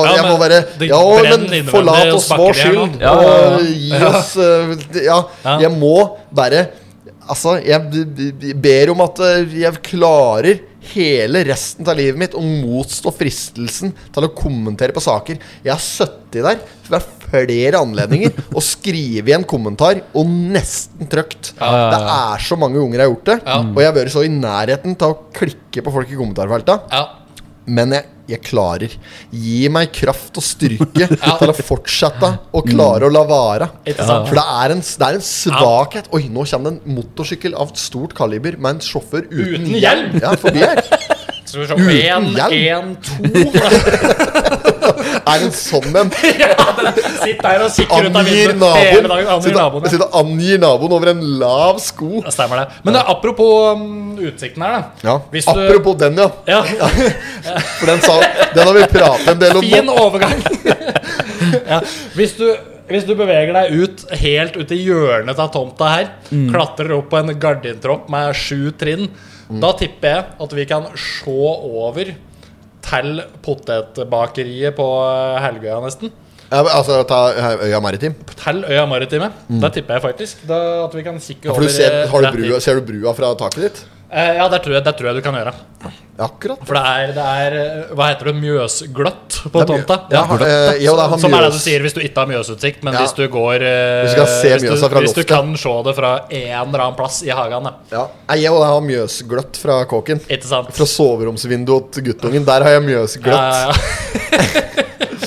Ja,
Jeg må
men
bare
det
Ja,
brenner
men
innvendig
forlat
og
oss
smakker
vår
det her nå.
skyld
Ja, ja, ja.
og gi oss eh, Ja,
Ja.
jeg må bare Altså, jeg b- b- b- ber om at eh, jeg klarer hele resten av livet mitt å motstå fristelsen til å kommentere på saker. Jeg har sittet der ved flere anledninger og skrevet en kommentar, og nesten trykt.
ja, ja.
Det er så mange ganger jeg har gjort det,
Ja.
og jeg har vært så i nærheten til å klikke på folk i kommentarfelta.
Ja.
Men jeg, jeg klarer. Gi meg kraft og styrke til å fortsette å klare å la være.
Ikke sant?
For det er en, det er en svakhet Oi, nå kommer det en motorsykkel av et stort kaliber med en sjåfør uten,
Uten hjelm.
Mm. Ja, forbi her.
Skal vi se Én, én,
hjelm.
to
Er en sånn en.
Sitt der og kikker ut av
Angir
vinduet hele
naboen.
dagen. Angir
Sitter
naboen, ja.
sitter og angir naboen over en lav sko.
Ja, Stemmer det. Men eh, apropos um, utsikten her, da.
Ja.
Hvis du-
Apropos den, ja.
Ja,
For den, sa, den har vi pratet en del om.
Fin overgang. ja. hvis, du, hvis du beveger deg ut helt ut i hjørnet av tomta her,
Mm.
klatrer opp på en gardintropp med sju trinn,
Mm.
da tipper jeg at vi kan se over til potetbakeriet på eh, Helgøya, nesten.
Ja, men altså, ta eh, Øya Maritim.
Til Øya Maritime. Da tipper jeg faktisk da, at vi kan kikke
Mm. For
over
du ser,
eh,
har du
rett
brua,
dit.
ser du brua fra taket ditt?
Eh, Ja, det tror, jeg, det tror jeg du kan gjøre.
Akkurat.
For det er, det er eh, Hva heter det? Mjøsgløtt på
Det er mjø-
tomta?
Ja, har- eh, jo, det er han
Som er det
mjøs.
du sier hvis du ikke har mjøsutsikt, men
Ja.
hvis du går eh,
Hvis du kan se
hvis,
Mjøsa
du,
fra
hvis du
loftet.
kan se det fra en eller annen plass i hagen, da.
Ja. Nei, Jeg og jeg har mjøsgløtt fra kåken.
Ikke sant?
Fra soveromsvinduet til guttungen. Der har jeg mjøsgløtt.
Ja, ja, ja.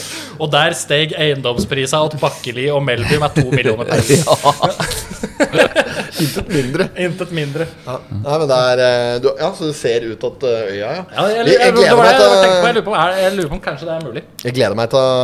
og der steg eiendomsprisa åt Bakkeli og Melby med to millioner penger.
Intet mindre.
Intet mindre.
Ja. Nei, men det er eh, du, Ja, så du ser ut at eh, øya, ja.
Ja, jeg, jeg,
Jeg-
jeg,
jeg gleder
det var
meg
det jeg,
til-
tenkte på. jeg, lurer på, om- er- jeg lurer på om kanskje det er mulig.
Jeg gleder meg til,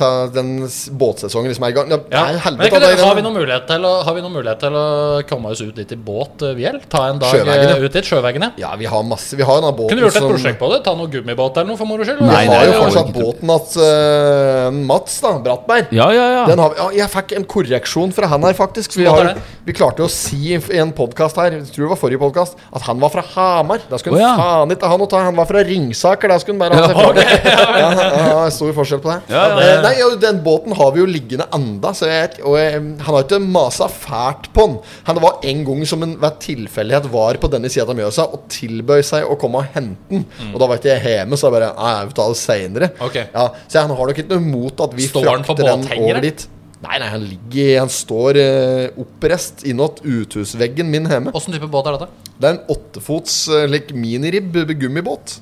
til den s- båtsesongen som er i gang. Ja,
Ja.
Nei,
Men
helvete.
ikke, det-
det er-
har, vi noen mulighet til å, har vi noen mulighet til å komme oss ut dit i båt, eh, Viel? Ta en dag
Sjøveggen,
eh, ut dit? Sjøveggene?
Ja, vi har masse. Vi har jo den båten
Kunne du gjort et
som-
prosjekt på det? Ta noe gummibåt eller noe for moro skyld?
Nei,
Vi har
det
jo
har vi
fortsatt
ikke.
båten at eh, Mats, da. Brattberg.
Ja, ja, ja.
Den har vi, ja, jeg fikk en korreksjon fra han her, faktisk. Vi,
Smått er
har,
det.
vi klarte jo å si i f- en podkast her, jeg tror det var forrige podcast at han var fra Hamar. Da skulle
Å, ja.
faen ikke ha noe ta. Han var fra Ringsaker. Da skulle han bare ha seg
Ja,
fri. ja, ja, ja, Stor forskjell på det.
Ja,
Eh, Nei, jo, Den båten har vi jo liggende enda, så jeg, og eh, han har ikke masa fælt på den. Han var en gang som en ved tilfeldighet var på denne sida av Mjøsa og tilbød seg å komme og hente den.
Mm.
Og da var ikke jeg hjemme, så jeg bare Nei, jeg vil ta det seinere.
Ok.
Ja, så han har nok ikke noe imot at vi
Står han på
frakter den
båthengere?
over dit. Nei, nei, han ligger Han står eh, oppreist innåt uthusveggen min hjemme.
Åssen type båt er dette?
Det er en åttefots eh, like miniribb gummibåt.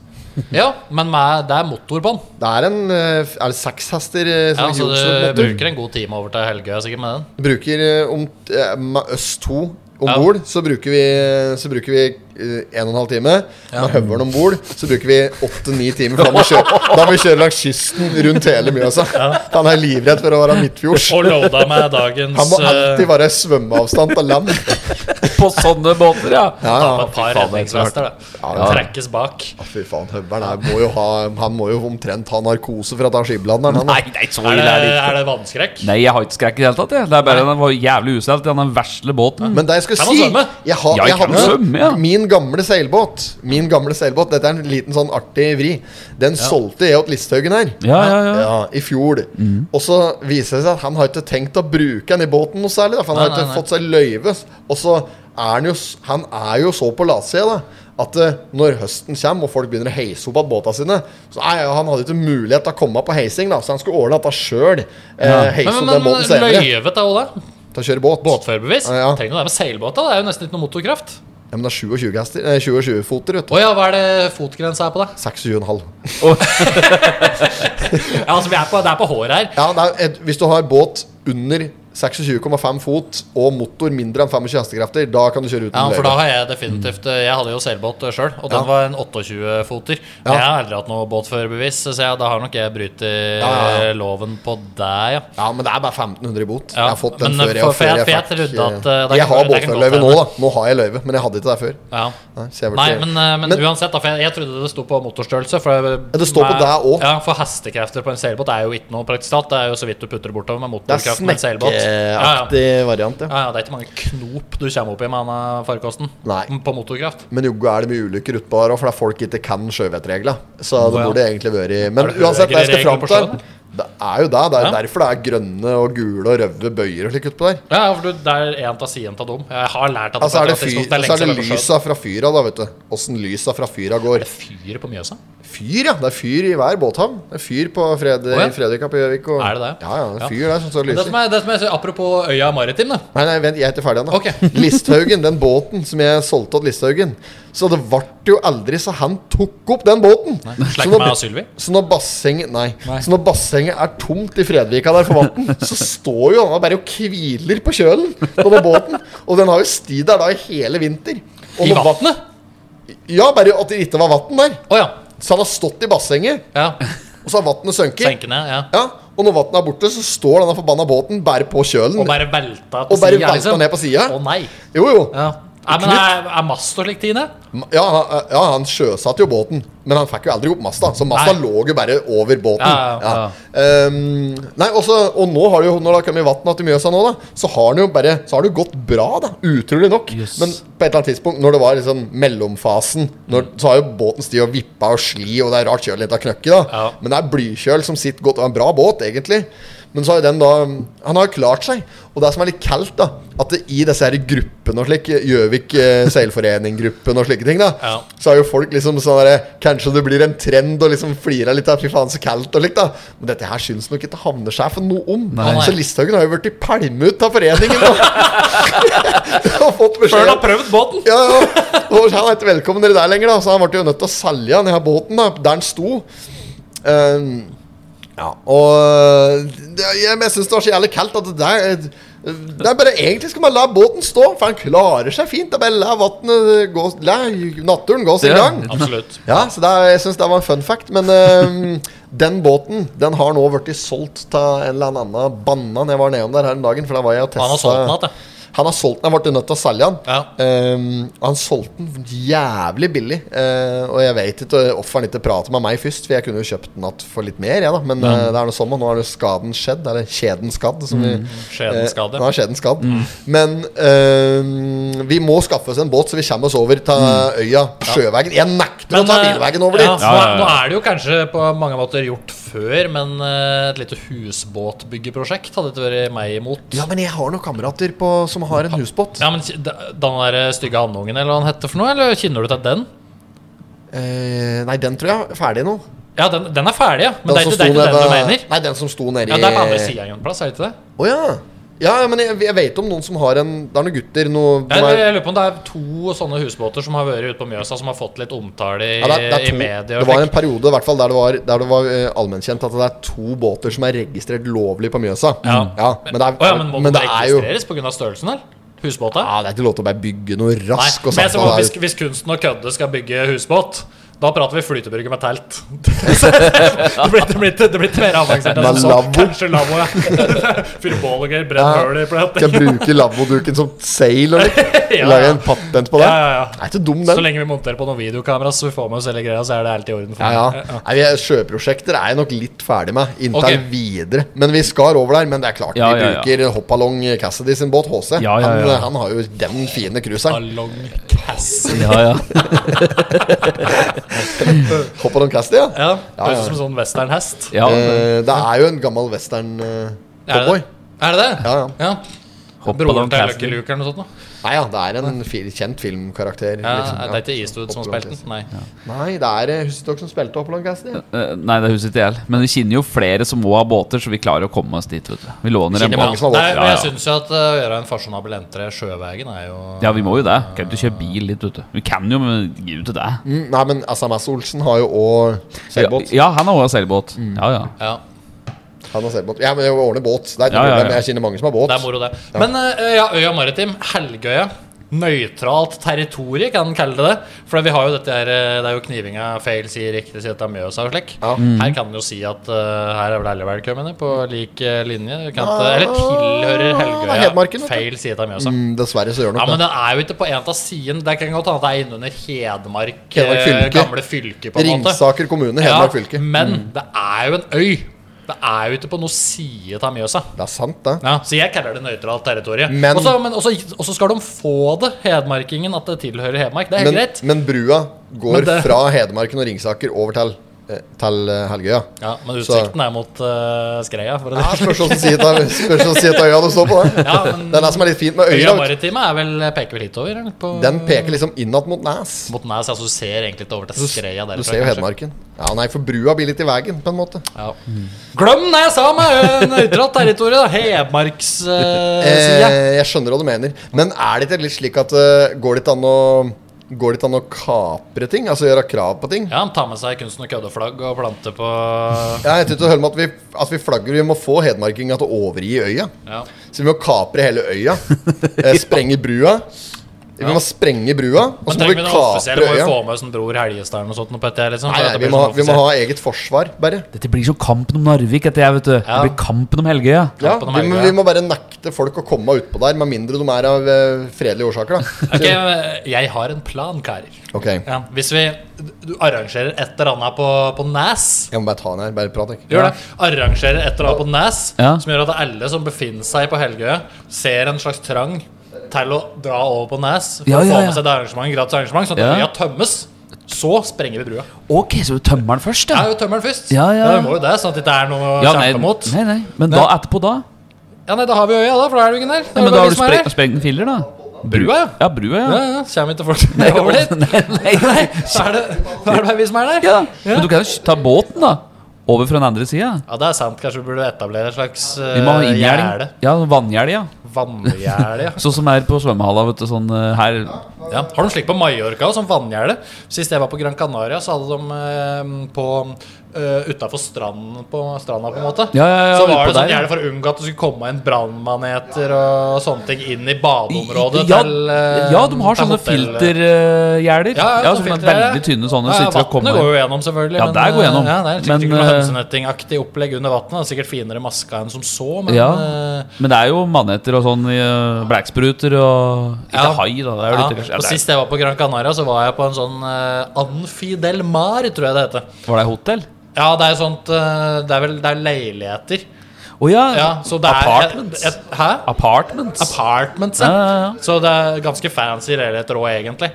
Ja, men med, det er motor på den.
Det er en eh, Er det seks hester? eh,
Ja,
som
så
Johnsen-
du bruker en god time over til Helgøy sikkert med den.
Bruker eh, om, eh, med oss to om bord, så bruker vi, så bruker vi eh, en og en halv time. Med høvelen om bord så bruker vi åtte-ni timer. For da må vi kjøre, da må vi kjøre langs kysten rundt hele Mjøsa. Han er livredd for å være midtfjords.
Og loada med dagens eh,
Han må alltid være i svømmeavstand av land.
På sånne båter, ja.
Ja,
Ta med
fy
et par
ja.
faen, det er så hardt.
redningsvester, det.
Ja, ja.
Trekkes bak.
Fy faen, høvelen her må jo ha Han må jo omtrent ha narkose for at han skiblander. Han, da.
Nei, det er ikke så
Er
ille.
det,
er det ikke.
er det vannskrekk?
Nei, jeg har ikke skrekk i det hele tatt. Jeg. Det er bare Den var jævlig usel til den vesle båten.
Men det jeg skulle
Kan man
si
svømme?
Jeg, har,
Ja,
jeg
jeg kan
hadde
svømme, ja.
Min gamle seilbåt Min gamle seilbåt Dette er en liten sånn artig vri Den solgte jeg åt Listhaugen her
Ja, ja, ja. Mhm.
Ja, i fjor Og så viser det seg at han har ikke tenkt å bruke den i båten noe særlig da, For han har
Nei,
ikke
nei, nei.
fått seg løyve Og så er han jo, s- han er jo så på latsida da at eh, når høsten kommer og folk begynner å heise opp av båta sine Så nei, ja, han hadde ikke mulighet til å komme på heising da Så han skulle ordne at han selv eh, heise
Men,
opp
men,
den båten
men
senere
løyvet er òg det.
Til å kjøre båt
Båtførerbevis?
Ja, ja.
Trenger du det med seilbåta? Det er jo nesten ikke noe motorkraft.
Ja, men det er 27 hester eh, 27 foter vet du
Å ja, hva er det fotgrensa er på det?
26,5.
Ja, altså, vi er på, Det er på håret her.
Ja, det er et, hvis du har båt under 26,5 fot og motor mindre enn 25 hestekrefter, da kan du kjøre uten
Ja, for da
løyve.
har jeg definitivt eh, Jeg hadde jo seilbåt sjøl, og den
Ja.
var en 28-foter.
Ja.
Jeg har aldri hatt noe båtførerbevis, så jeg, da har nok jeg brytt
ja, ja.
loven på deg, ja.
Ja, men det er bare 1500 i bot.
Ja,
Jeg har fått den
men
før jeg,
for-
og
for
før
jeg-
jeg,
for jeg
fikk,
trodde at,
eh,
eh, det kan- det
Jeg har
kan godt
båtførerløyve nå,
hende.
da. Nå har jeg løyve, men jeg hadde ikke det før.
ja.
Nei, så jeg ble
Nei,
ikke-
men, eh, men,
Men-
uansett, da, for jeg, jeg trodde det sto på motorstørrelse. For
det står på deg også.
Ja, for hestekrefter på en seilbåt er jo ikke noe praktisk talt. Det er jo så vidt du putter det bortover med
det er
motorkraft med en seilbåt. Ja, ja.
snekkeaktig variant, ja.
Ja, ja, Det er ikke mange knop du kommer opp i med denne farkosten.
Nei.
På motorkraft.
Men joggo er det mye ulykker utpå her òg, for det er folk ikke kan sjøvettregla. Så
Å,
det
ja.
burde egentlig vært Men
Er det
uansett, det jeg skal
regler
fram
på
til
sjøen,
Det er jo det. Det er
Ja.
derfor det er grønne og gule og røde bøyer og slikt utpå der.
Ja, ja, for du, det er en av sidene av dem. Jeg har lært at
Altså er det,
på et
fyr,
eller annet tidspunkt er
så er det
lengst jeg har vært på sjøen.
lysa fra fyra, da, vet du. Åssen lysa fra fyra går.
Er det fyret på Mjøsa?
Fyr, ja. Det er fyr i hver båthavn. Det er fyr på Fred
Å, ja.
i Fredrika på Gjøvik. Og...
Er det det?
Ja, ja. Det
Ja.
er fyr der som står og
Det
lyser.
som er, det som er Apropos Øya Maritim, da.
Nei, nei, vent, jeg er ikke ferdig ennå.
Ok.
Listhaugen, den båten som jeg solgte til Listhaugen Så det ble jo aldri så han tok opp den båten.
Slekk
Så nå-
meg og Sylvi.
så når bassenget Nei. Så når bassenget er tomt i Fredvika der for vann, så står jo han bare og hviler på kjølen på den båten. Og den har jo sti der da i hele vinter. Og
I
når va-
vannet?
Ja, bare at det ikke var vann der.
Å ja.
Så han har stått i bassenget,
ja.
og så har vannet sunket.
Senke ned, ja.
Ja, og når vannet er borte, så står denne forbanna båten bare på kjølen.
Og bare liksom- velta på
Og bare
siden,
velta ned på siden.
Å nei.
Jo, jo. Ja.
Ja. Nei, men er, er mast og slikt inne?
han, eh, ja, han sjøsatte jo båten, men han fikk jo aldri opp masta. Så masta
Nei.
lå jo bare over båten.
Ja, ja,
Ehm, nei, også, og nå har det jo, når det har kommet vann til Mjøsa nå, da, så har han jo bare Så har det jo gått bra, da. Utrolig nok.
Yes.
Men på et eller annet tidspunkt, når det var liksom mellomfasen, når, så har jo båten sti og vippa og sli, og det er rart kjølet litt har knøkket, da.
Ja.
Men det er blykjøl som sitter godt. Det var en bra båt, egentlig. Men så har jo den da Han har jo klart seg. Og det som er litt kaldt, da, at det, i disse her gruppene og slik, Gjøvik eh, Seilforening-gruppen og slike ting, da,
Ja.
så har jo folk liksom sånn derre Kanskje det blir en trend og liksom flira litt av fy faen, så kaldt og likt, da. Men dette her syns nok ikke havnesjefen noe om.
Nei.
Så Listhaugen har jo blitt pælmet ut av foreningen nå. har fått
Før
beskjed
du har prøvd båten?
ja, ja. Og han er ikke velkommen dere der lenger, da. Så han ble jo nødt til å selge denne båten da, der han sto. Ehm, ja, og det, jeg, men jeg syns det var så jævlig kaldt at det der det er bare Egentlig skal man la båten stå, for han klarer seg fint. Det er bare La vannet gå La naturen gå sin
Ja.
gang.
Absolutt.
Ja, så det er, jeg syns det var en fun fact. Men ehm, den båten Den har nå blitt solgt til en eller annen banna når jeg var nedom der her den dagen. For da var jeg og
Han har
testa
solgt den igjen,
Han har solgt den, han ble nødt til å selge den.
Ja.
Ehm, han solgte den jævlig billig. eh, og jeg vet ikke hvorfor han ikke prater med meg først, for jeg kunne jo kjøpt den att for litt mer, jeg, da. Men eh, det er noe sånn, og nå har jo skaden skjedd. Eller kjeden skadd, som
Mm,
vi
Skjeden
Eh,
skade.
nå er skjeden skadd.
Mm.
Men eh, vi må skaffe oss en båt, så vi kommer oss over til øya. Sjøvegen. Jeg nekter å ta
Mm. eh,
bilvegen over
ja, så
dit!
Ja, ja, ja.
Nå er det jo kanskje på mange måter gjort før, men eh, et lite husbåtbyggeprosjekt hadde ikke vært meg imot.
Ja, men jeg har noen kamerater på, som har en husbåt.
Ja, men ki- da- Den der stygge andungen, eller hva han heter for noe? Eller kjenner du til den?
Eh, nei, den tror jeg er ferdig nå.
Ja, den, den er ferdig, ja. Men det er
som
ikke det er
sto Eh.
ikke den du
nede-
mener?
Nei, den som sto nedi
Ja, Det er på andre sida en plass, er det ikke det?
Å ja. ja. ja, men jeg, jeg vet om noen som har en Det er noen gutter noe,
Jeg,
de er,
jeg lurer på om det er to sånne husbåter som har vært ute på Mjøsa, som har fått litt omtale i,
ja, det, er, det, er
i
to,
media.
det
og
var en
slik.
periode i hvert fall der det var, der det var eh, allmennkjent at det er to båter som er registrert lovlig på Mjøsa.
Ja.
men det er,
Å ja, men må
men
den
det er jo
registreres pga. størrelsen, eller? Husbåta?
ja, Det er ikke lov til å bare bygge noe
Nei,
rask og sånn
men jeg
sakte.
tror
der
hvis,
ute.
hvis kunsten og kødde skal bygge husbåt, da prater vi flytebrygge med telt. det, blir, det, blir, ikke- det blir ikke mer avansert. enn
Med
som-
lavvo.
Kanskje lavvo, ja. Fyre bål og greier, brenne
Ja.
høl i plata.
Skal bruke lavvoduken som seil og litt.
Ja.
Lage en patent på det.
Ja, ja, ja.
Det er ikke dum,
Så
den.
lenge vi monterer på noen videokamera, så vi får med oss hele greia, så er det helt i orden. for
Ja,
meg.
ja. Nei, vi- sjøprosjekter er jeg nok litt ferdig med inntil
Ok.
videre. Men vi skar over der. Men det er klart
Ja,
vi
ja, ja.
bruker hoppalong Cassidy sin båt, HC.
Ja, ja, ja.
Han, han har jo den fine cruiseren.
Ballong Cass.
Ja, ja.
Hoppalong Cassidy, ja.
Ja,
Ja,
høres ut
ja.
som en sånn westernhest.
ja
Eh, det er jo en gammel western eh,
Er det
cowboy.
det? Er det det?
Ja, ja.
Hoppet
Broren
om
til
Cassidy.
Lucky Luke eller noe sånt? nå?
Nei ja, det er en fil, kjent filmkarakter.
Ja,
liksom,
det er ikke Eastwood som har
Hoppalong
spilt den?
Cassidy.
Nei.
Nei, det er eh, Husker dere som spilte Hoppalong Cassidy?
Eh, Nei, det husker ikke jeg. Men vi kjenner jo flere som må ha båter, så vi klarer å komme oss dit. vet du Vi låner en
Kjenner mange
båt.
som har
Nei,
båt.
Ja,
men jeg
ja.
syns jo at eh, å gjøre en fasjonabel entré sjøveien er jo
Ja, vi må jo det. Kan ikke kjøre bil litt, vet du. Vi kan jo, men gi ut til det.
Mm, Nei, men SMS Olsen har jo òg seilbåt.
Ja, han har også seilbåt.
Mm.
Ja, ja.
Ja.
Han har seilbåt. Ja, men jeg ordner båt. Det er ikke
Ja, ja,
problem.
ja.
Jeg kjenner mange som har båt.
Det er moro, det. Men eh, ja, Øya Maritim, Helgøya. Nøytralt territorium, kan en kalle det det. For vi har jo dette her eh, Det er jo knivinga feil sier riktig, sier at det er Mjøsa og slik.
Ja.
Her kan en jo si at eh, her er vel alle velkomne på lik eh, linje. Du Kan ikke, eller tilhører
det er Hedmarken,
Helgøya
vet du.
feil sier at det er Mjøsa.
Mm, dessverre så gjør nok
Ja, men
det.
den er jo ikke på en av sidene. Det kan godt hende at det er innunder Hedmark,
Hedmark
eh,
fylke.
gamle fylke, på en måte.
Ringsaker kommune, Hedmark
Ja,
fylke.
Men det er jo en øy. Det er jo ikke på noe side av Mjøsa.
Det er sant, det.
Ja, så jeg kaller det nøytralt territorium.
Men-
Også, men også, også skal de få det, hedmarkingen, at det tilhører Hedmark. Det er helt
Men,
greit.
men brua går
Men det-
fra Hedmarken og Ringsaker over til, eh, til eh, Helgøya.
Ja, men
Så-
utsikten er mot eh, Skreia. For å
Ja,
si det. sånn.
Spørs hvordan side av- spørs hvordan side av øya du står på. Da.
Ja, men-
det er det som er litt fint med
Øya
øya. vet
Maritime er vel, peker vel hitover? eller? På,
du. Den peker liksom innad mot Næs.
mot Nes, altså du ser egentlig ikke over til Skreia derfra.
Du ser jo
kanskje.
Hedmarken. Ja, nei, for brua blir litt i veien, på en måte.
Ja. Glem det jeg sa om ø, nøytralt territorium, da! Hedmarkssida.
Eh, jeg skjønner hva du mener. Men er det ikke litt slik at eh, går det ikke an å Går det ikke an å kapre ting? Altså gjøre krav på ting?
ja, han tar med seg kunsten og køddeflagg og plante på
Ja, jeg tror ikke det holder med at vi, at vi flagger. Vi må få hedmarkinga til å overgi øya.
ja.
Så vi må kapre hele øya. Eh, sprenge brua. Vi må sprenge brua, og
Men
så må
trenger
vi
vi noe offisiell?
kapre
Må vi
øya.
få med oss en Bror Helgestad eller noe sånt? Noe på dette, her, liksom,
Nei,
for
nei,
at det
vi
blir
må,
sånn
vi må
offisiell.
ha eget forsvar, bare.
Dette blir som kampen om Narvik, dette her, vet du. Det
Ja.
blir kampen om Helgøya.
Ja,
på den
vi, må,
helga.
vi må bare nekte folk å komme utpå der, med mindre de er av eh, fredelige årsaker. Da.
Ok,
eh,
jeg har en plan, karer.
Ok,
Ja, hvis vi du arrangerer et eller annet på, på Nes
Jeg må bare ta den her. Bare prat, jeg.
Gjør det. Arrangerer et eller annet på Nes
Ja.
som gjør at alle som befinner seg på Helgøya, ser en slags trang til å dra over på Nes for
Ja,
å
ja,
få
ja.
med seg et arrangement, gratis arrangement, sånn at
Ja.
øya tømmes. Så sprenger vi brua.
Ok, så du tømmer den først,
Jeg er
ja.
jo tømmeren først.
Ja, ja.
Da må jo det, sånn at det ikke er noe å
ja nei,
kjempe mot.
nei, nei. Men da etterpå, da?
Ja, nei, da har vi øya, da, for da er det jo ingen der.
Nei,
er
men
det
da
bare
har
vi
du
som er
spre
her.
sprengt filler, da?
Brua, ja.
Ja, brua,
Ja,
ja.
ja, Kommer ikke folk over dit?
Nei, nei, nei.
Så er det, da er det bare vi som er der.
Ja. Men du kan jo ta båten, da. Over fra den andre sida.
Ja, det er sant. Kanskje vi burde etablere et slags uh,
Vi må ha inngjerding. Ja, vanngjerde, ja.
Vanngjerde, ja.
Sånn som er på svømmehalla, vet du. Sånn eh, her
ja. Har de slik på Mallorca, også, sånn vanngjerde? Sist jeg var på Gran Canaria, så hadde de eh, på uh, utafor stranden på stranda, på en måte.
Ja, ja, ja,
så
utpå
var det sånn
der, ja.
gjerne for å unngå at det skulle komme en brannmaneter og sånne ting inn i badeområdet
ja,
til eh,
ja, de har
til
sånne
hotell-
filtergjerder.
Ja, ja, sånne
sånne
filtre.
veldig tynne sånne.
Ja,
så
ja,
ikke skal komme-
vannet går jo gjennom, selvfølgelig.
Ja,
men,
der går gjennom.
eh, Ja, det er
Men,
sikkert ikke noe
eh,
hønsenettingaktig opplegg under vannet. Sikkert finere maska enn som så, men
Ja.
eh,
Men det er jo maneter og sånn, i, eh, blekspruter og Ikke
Ja.
hai, da. Det er jo
Ja,
litt, kanskje,
og
eller,
Sist jeg var på Gran Canaria, så var jeg på en sånn eh, Anfidel Mar, tror jeg det heter.
Var det hotell?
Ja, det er sånt eh, Det er vel det er leiligheter.
Å ja.
Ja, så det er
Apartments.
Et, et, hæ?
Apartments.
Apartments,
Ja, ja, ja.
Så det er ganske fancy leiligheter òg, egentlig.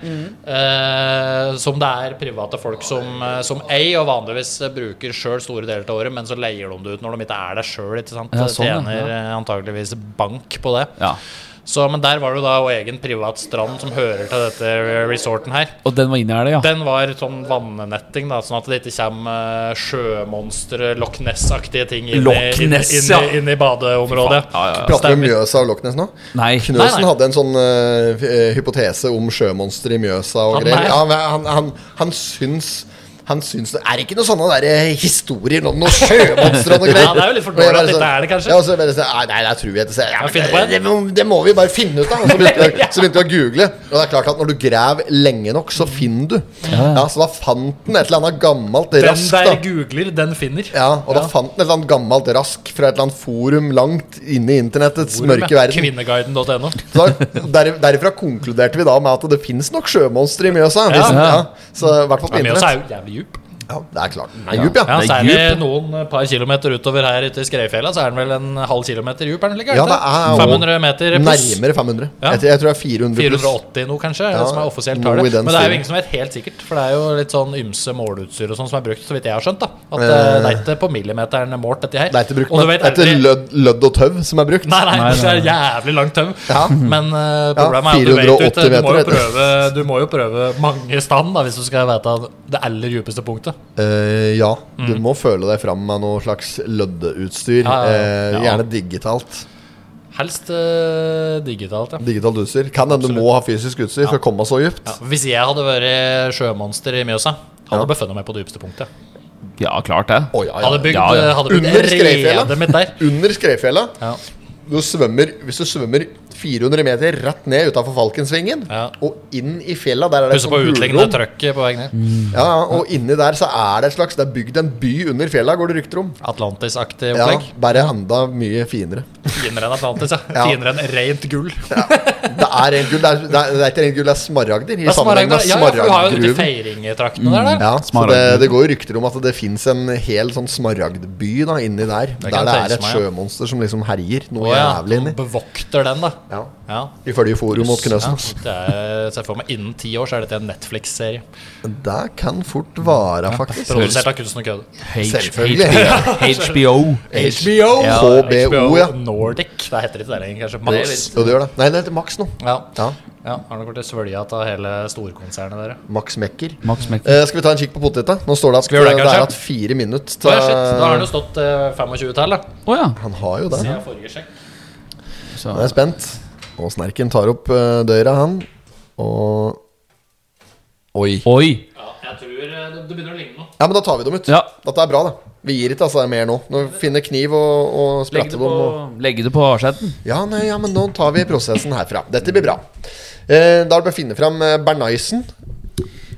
Eh, som det er private folk som, eh, som eier og vanligvis eh, bruker sjøl store deler av året, men så leier de det ut når de ikke er der sjøl.
Ja, sånn, ja,
Tjener
ja.
eh, antageligvis bank på det.
ja.
Så, men der var det jo da også egen privat strand som hører til dette resorten her.
Og den var inni her, det, ja.
Den var sånn vannnetting, da, sånn at det ikke kommer eh, sjømonstre, Loch Ness-aktige ting inn,
Loch
i, inn,
Ness,
inn,
ja.
i- inn i badeområdet.
Ja, ja, ja.
Prater vi om
Stemmer.
Mjøsa og Loch Ness nå?
Nei.
Knøsen
Nei, nei.
hadde en sånn eh, f- eh, hypotese om sjømonstre i Mjøsa og
Han
greier.
er-
Ja, men han, han, han syns han syns det er ikke noen sånne der eh, historier om noen sjømonstre og noe greier.
Ja, det er jo litt for
Og jeg
dårlig
bare
at dette
sånn-
er det, kanskje?
Ja, og så bare sånn, nei, nei, det tror jeg ikke. Så, jeg, ja,
Ja, finn på
men, eh,
en.
det, det, må- det må vi bare finne ut av. Og Så begynte, jeg- så begynte vi å google, og det er klart at når du graver lenge nok, så finner du. Ja, Så da fant den et eller annet gammelt
Den
raskt.
der
da.
googler, den finner.
Ja, og da fant den et eller annet gammelt rask fra et eller annet forum langt inne i internettets mørke verden.
Kvinneguiden.no.
Så der, derifra konkluderte vi da med at det fins nok sjømonstre i Mjøsa. hvis-
Ja.
ja. Så i hvert fall på
Ja, Mjøsa er
internett.
jo jævlig djup.
Ja, det er klart. Den er djup, ja.
Ja,
Det er
Særlig
djup, ja.
noen eh, par kilometer utover her ute i Skreifjella, så er den vel en halv kilometer djup? Er den ikke?
Ja, det er jo
500 meter pluss.
Nærmere 500.
Ja.
Jeg, tror- jeg tror det er 400 pluss.
480 noe, kanskje, er
Ja,
det som er offisielt
noe
tar det.
i den
Men det er jo
stilen.
ingen som vet helt sikkert, for det er jo litt sånn ymse måleutstyr og sånn som er brukt, så vidt jeg har skjønt. da At eh,
Eh.
det er ikke på millimeteren målt, dette her.
Det er ikke brukt,
og du
men
vet
det er
aldri-
ikke lødd, lødd og tøv som er brukt.
Nei, nei,
Nei,
det
nei,
er jævlig langt tøv.
Ja.
Men eh, problemet er at du vet jo ikke du må,
480
jo
meter, vet
prøve, du må jo prøve mange stand da hvis du skal vite det aller djupeste punktet.
Eh, ja, du må føle deg fram med noe slags løddeutstyr.
Mm. Ja, ja, ja.
eh,
Ja.
gjerne digitalt.
Helst eh, digitalt, ja.
Digitalt utstyr. Kan hende du må ha fysisk utstyr for å komme så dypt.
ja. Hvis jeg hadde vært sjømonster i Mjøsa, hadde
Ja.
jeg befunnet meg på dypeste punktet.
ja, klart det.
Å, ja, ja.
Hadde bygd, eh,
Ja, ja.
hadde bygd
Under Skreifjella?
redet mitt der.
Under Skreifjella.
Ja.
Du svømmer, hvis du svømmer 400 meter rett ned utafor Falkensvingen
Ja.
og inn i fjella Der er det
Husk på å
sånn
utlegge det
hulrom.
trøkket på vei ned.
Ja, ja, og inni der så er det et slags Det er bygd en by under fjella, går det rykter om.
Atlantis-aktig
Ja,
opplegg.
Bare enda mye finere.
Finere enn Atlantis, ja.
Ja.
Finere enn rent gull.
Det er rent gull. Det er, det er, det er ikke rent gull, det er smaragder.
Det
I
er smaragder.
sammenheng med
Ja, ja, for du har jo ute i
smaragdgruven.
feiringtraktene der. der.
Ja, så det,
Smaragdgruven.
det går jo rykter om at det fins en hel sånn smaragdby da, inni der.
kan
der det
jeg
er
tenke
et
meg, ja.
sjømonster som liksom herjer noe
Å ja,
jævlig
som
inni.
bevokter den, da.
Ja.
Ja.
Ifølge Forum mot Knøsen.
Ja, det er, ser for meg Innen ti år så er dette en Netflix-serie.
Det kan fort vare, faktisk.
Produsert av Kunsten og Kødde.
H-
Selvfølgelig.
HBO.
HBO!
Ja,
HBO, ja.
Nordic. Det heter ikke det lenger, kanskje. Max.
Jo, det gjør det. Nei, det heter Max nå.
Ja.
Ja,
ja. Har nok blitt svølja av hele storkonsernet, dere.
Max Mekker.
Max Mekker.
Eh, skal vi ta en kikk på poteta? Nå står det at
vi gjøre det,
det er
kanskje?
at fire minutter
Å, ja, shit. Da har det jo stått eh, 25-tall, da.
Å ja.
Han har jo det.
Det er forrige sjekk.
Så.
Jeg er spent. Og Snerken tar opp eh, døra, han. Og Oi.
Oi.
Ja, jeg tror eh, det, det begynner å ligne noe.
Ja, men da tar vi dem ut.
Ja.
Dette er bra, det. Vi gir ikke altså mer nå. Nå finner kniv og, og
Legg det
spratter
på,
dem. Og...
legg det på asjetten.
Ja, nei, ja, men nå tar vi prosessen herfra. Dette blir bra. Eh, da er det bare å finne fram eh, Bernaisen.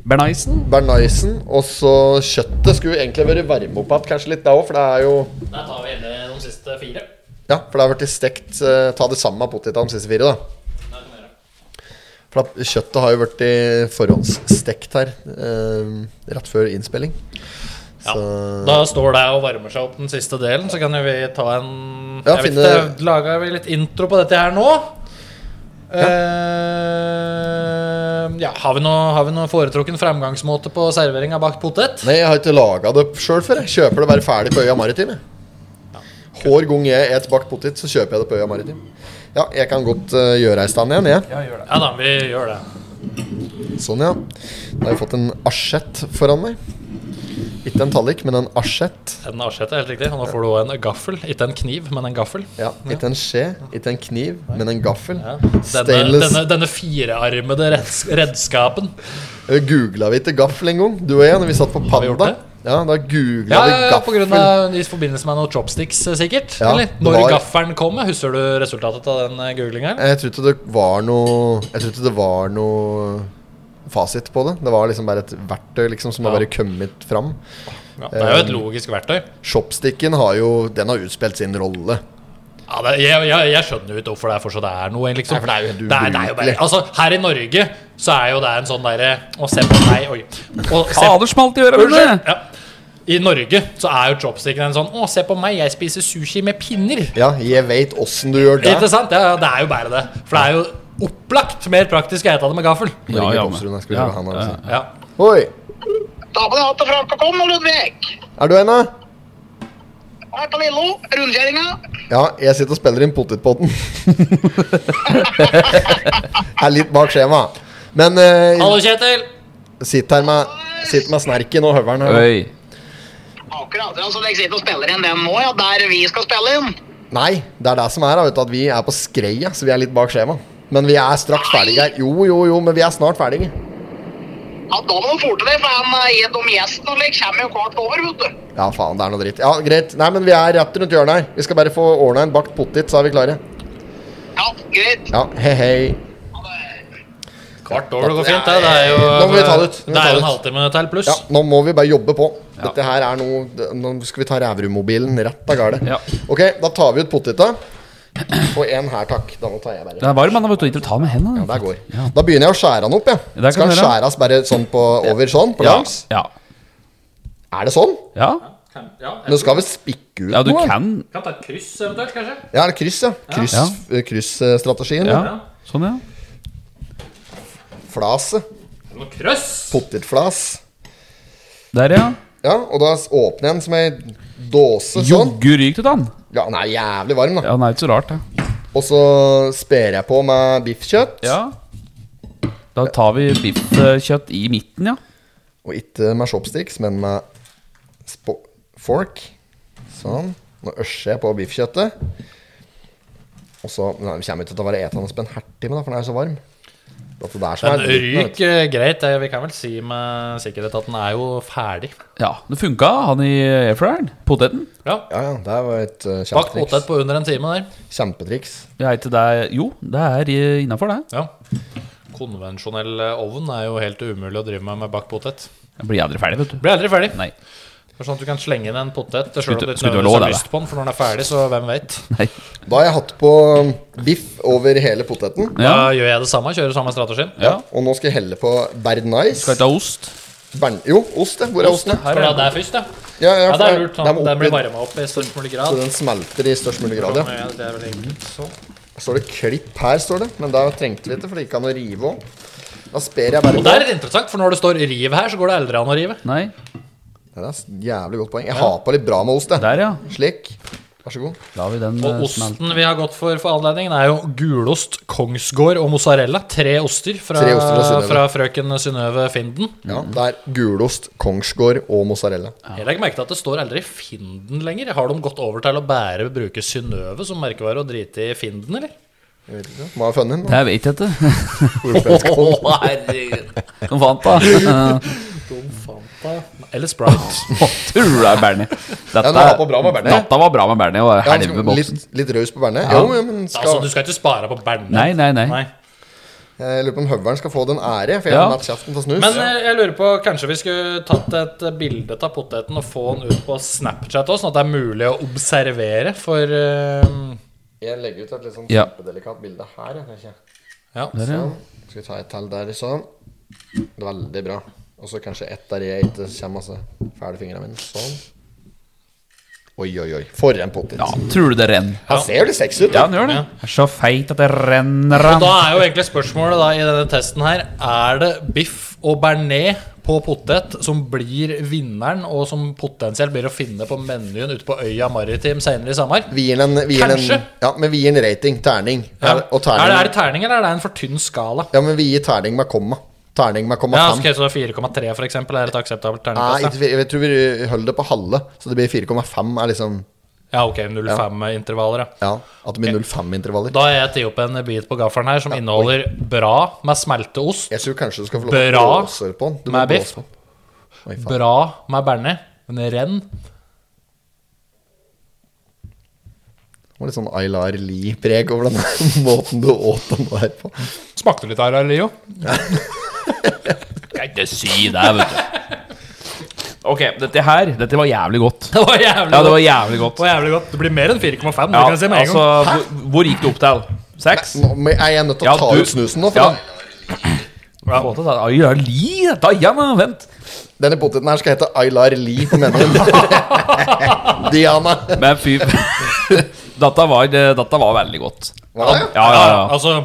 Bernaisen.
Bernaisen og så kjøttet skulle jo egentlig vært varmet opp igjen, kanskje litt da òg, for det er jo
Der tar vi inne de siste fire.
Ja, for det har vært stekt eh, Ta det samme med poteta de siste fire, da. For da, kjøttet har jo vært i forhåndsstekt her eh, rett før innspilling.
Ja.
Så
Da står det og varmer seg opp den siste delen, så kan jo vi ta en
Ja,
Jeg vet
finne-
ikke, Lager vi litt intro på dette her nå? Eh, ja, har vi, noe, har vi noe foretrukken fremgangsmåte på servering av bakt potet?
Nei, jeg har ikke laga det sjøl før. Jeg kjøper det bare ferdig på Øya Maritim. Jeg. Hver gang jeg et bakt potet, så kjøper jeg det på Øya Maritim. Ja, jeg kan godt eh, gjøre ei stand igjen, jeg.
Ja da, vi gjør det.
Sånn, ja. Da har jeg fått en asjett foran meg. Ikke en tallik, men en asjett.
En asjett er helt riktig. Og nå får du også en gaffel. Ikke en kniv, men en gaffel.
Ja, Ikke en skje, ikke en kniv, men en gaffel.
Ja. Denne,
Stainless
denne, denne firearmede reds redskapen.
Eh, Googla vi ikke gaffel en gang, du og jeg, når vi satt på
vi gjort
Panda?
det?
Ja, da googla
Ja,
vi
ja, ja, på grunn
gaffel.
av, I forbindelse med noen chopsticks, eh, sikkert.
Ja,
eller?
det
Når
var-
gaffelen kom. ja. Husker du resultatet av den eh, googlingen?
Jeg tror ikke det var noe Jeg tror ikke det var noe fasit på det. Det var liksom bare et verktøy liksom som har
Ja.
bare kommet fram.
Ja, det
Eh.
er jo et logisk verktøy.
Shopsticken har jo Den har utspilt sin rolle.
Ja, det, jeg, jeg, jeg skjønner jo ikke hvorfor det er fortsatt er noe. Liksom.
Nei, for det er jo helt
Det er- det er jo bare,
ubrukelig.
altså, her i Norge så er jo det en sånn derre Å se på meg Oi. Å se,
Fader smalt i øret!
Unnskyld!
Bjørne.
Ja. I Norge så er jo chopsticken en sånn Å, se på meg, jeg spiser sushi med pinner.
Ja, jeg veit åssen du gjør det.
Ikke sant? Ja, ja, det er jo bare det. For det er jo opplagt mer praktisk å ete det med gaffel.
Nå
Ja,
ringer
ja,
Domsrud, jeg
ja,
skulle gjøre han,
ja,
altså.
Ja.
Oi,
Ta på deg hatt og frakk og kom, Ludvig.
er du ennå?
Her på Lillo, rundkjøringa.
Ja, jeg sitter og spiller inn potetpotten. er litt bak skjema. Men eh,
Hallo, Kjetil.
sitt her med Sitt med snerken og høveren her.
Oi.
Akkurat. ja, Så dere sitter og spiller inn den nå, ja, der vi skal spille inn?
Nei, det er det som er, da, vet du, at vi er på skreia, så vi er litt bak skjema. Men vi er straks ferdige her. Jo, jo, jo, men vi er snart ferdige.
Ja, Da må du forte deg, for han eh, de gjestene og slik kommer jo kvart over, vet du.
Ja, faen, det er noe dritt. Ja, greit. Nei, men vi er rett rundt hjørnet her. Vi skal bare få ordna en bakt potet, så er vi klare.
Ja, greit.
Ja, hei, hei.
Kvart over, det går fint. Det, det er jo,
Nå må vi ta det ut. Nå
det
må vi ta
er jo
det
en
ut.
halvtime til pluss.
Ja, nå må vi bare jobbe på. Dette her er noe det- Nå skal vi ta Ræverud-mobilen rett av garde.
Ja.
Ok, da tar vi ut poteta. Og en her, takk. Da nå tar jeg bare.
Den er varm, men da vet du ikke ta med hendene.
Ja, der går. Da begynner jeg å skjære den opp, jeg.
Ja, det
Skal
kan
den
du gjøre.
skjæres bare sånn på, over sånn, på
Ja.
langs?
Ja.
Er det sånn?
ja.
Men du skal vel spikke ut
ja, du
noe?
kan
Kan ta et kryss eventuelt, kanskje.
Ja, er det kryss, ja? Kryss,
Ja.
eh, Kryssstrategien.
Ja.
ja.
Sånn, ja.
Flase.
Noe krøss.
Potetflas.
Der, ja.
Ja, og da s- åpner jeg den som ei dåse sånn.
Joggu ryk til den.
Ja, den er jævlig varm, da.
Ja, den er ikke så rart, det.
Og så sper jeg på med biffkjøtt.
Ja. Da tar vi biffkjøtt i midten, ja.
Og ikke med chopsticks, men med spo fork. Sånn. Nå ørser jeg på biffkjøttet. Og så Nei, det kommer ikke til å være etende som en hertime, da, for den er jo så varm. Dette der som
Den
er dritten, vet
ryk
du.
eh, greit. eh, Vi kan vel si med sikkerhet at den er jo ferdig.
Ja, Det funka, han i airfryeren. Poteten.
Ja.
Ja, ja. Det var et uh,
Bakt potet
kjempetriks.
på under en time der.
kjempetriks.
Ja, er ikke det Jo, det er innafor, det.
Ja. Konvensjonell eh, ovn er jo helt umulig å drive med med bakt potet.
Jeg blir aldri ferdig, vet du.
Blir aldri ferdig.
Nei.
Det er Sånn at du kan slenge inn en potet sjøl
Skulle-
om du ikke
skulle du ha
nødvendigvis
lov,
har
da,
lyst på den, for når den er ferdig, så hvem vet.
Nei.
Da har jeg hatt på um, biff over hele poteten.
Ja.
Da gjør jeg det samme, kjører samme strategien.
Ja.
Og nå skal jeg helle på
Skal
bernais.
ikke ha ost.
Bern jo, ost. det. Hvor er osten?
Her er
For da, det
den.
er først, da.
Ja, ja,
Ja,
for
det er
jeg-
lurt.
jeg
Sånn.
må
Den blir
oppi-
varma opp i størst mulig
så
grad.
den smelter i størst mulig grad, ja.
Ja, det er vel egentlig sånn.
står det klipp her, står det. Men der trengte vi ikke, for det gikk an å rive òg. Da sper jeg bare
Mm. Og
på.
der er det interessant, for når det står 'riv' her, så går det aldri an å rive.
Nei.
Ja, Det er et jævlig godt poeng. Jeg har på litt bra med ost, jeg.
Der, ja.
Slik. Vær så god.
La vi den
Og
eh, smelte.
osten vi har gått for for anledningen, er jo gulost, kongsgård og mozzarella. Tre oster fra,
Tre oster fra Synnøve.
fra frøken Synnøve Finden.
Ja, Det er gulost, kongsgård og mozzarella.
Jeg legger merke til at det står aldri Finden lenger. Har de gått over til å bare bruke Synnøve som merkevare og drite i Finden, eller?
Hva har jeg funnet?
Jeg vet ikke.
Å, herregud.
Som fant da.
Eller Sprite.
Tulla, Bernie. Dette,
Ja, den var på bra med Bernie.
Natta var bra med Bernie og
Ja,
helvete med boksen.
litt, litt raus på bærene? Jo, jo, men
Altså,
skal,
du skal ikke spare på bærene.
Nei, nei, nei.
jeg lurer på om høveren skal få den ære, for jeg
Ja.
har latt kjeften få snus.
Men eh, jeg lurer på, kanskje vi skulle tatt et eh, bilde av poteten og få den ut på Snapchat også, sånn at det er mulig å observere for eh,
jeg legger ut et litt sånn
Ja.
kjempedelikat bilde her. Jeg, tenker jeg.
Ja.
Der, ja.
Sånn. Skal vi ta et til der, sånn. Veldig bra. Og så kanskje ett der jeg ikke kommer masse fæle fingrene mine. Sånn. Oi, oi, oi. For en potet.
ja, tror du det renner?
Han ser jo litt sexy ut.
Ja,
da.
den gjør det. Er så feit at det renner
Og
han.
da er jo egentlig spørsmålet da, i denne testen her Er det biff og bearnés på potet som blir vinneren, og som potensielt blir å finne på menyen ute på øya Maritim senere i sommer?
Vi gir den en, vi gir den en
Kanskje.
Ja, men vi gir den rating. Terning.
Ja.
Er, og
er, det, er
terning
det terning, eller er det en for tynn skala?
Ja, men vi gir terning med komma. Terning med komma
Ja,
fem.
ok, Så 4,3 for eksempel er et akseptabelt
Nei,
terningkast? da?
ikke fire- jeg tror vi holder det på halve, så det blir 4,5 er liksom
Ja, ok, 0,5-intervaller, ja.
Ja, at det blir 0,5-intervaller.
Da har jeg tatt opp en bit på gaffelen her som inneholder bra med smelteost,
Jeg tror kanskje du skal få lov til å
Bra
blåse på den. Du må
med biff.
blåse på den. Oi, faen.
bra med bearnés Men renn
Det var litt sånn Aylar Lie-preg over den måten du åt den der på.
smakte litt her, Leo.
Skal ikke si det, vet du. Ok, dette her Dette var jævlig godt.
Det var jævlig
Ja, det var
godt.
jævlig godt.
Det var jævlig godt. Det blir mer enn 4,5. det
Ja,
kan jeg si med en
altså,
gang.
hvor, hvor gikk det opp til? Seks?
Nå, men er jeg nødt til å
Ja,
ta
du-
ut snusen nå? For
Ja.
den-
Ja. Ai, ja, li, da, ja, men vent.
Denne poteten her skal hete Aylar Lie på menyen. Diana.
Men fy dette var, eh, dette var veldig godt.
Hva er det?
Ja, ja, ja.
Altså,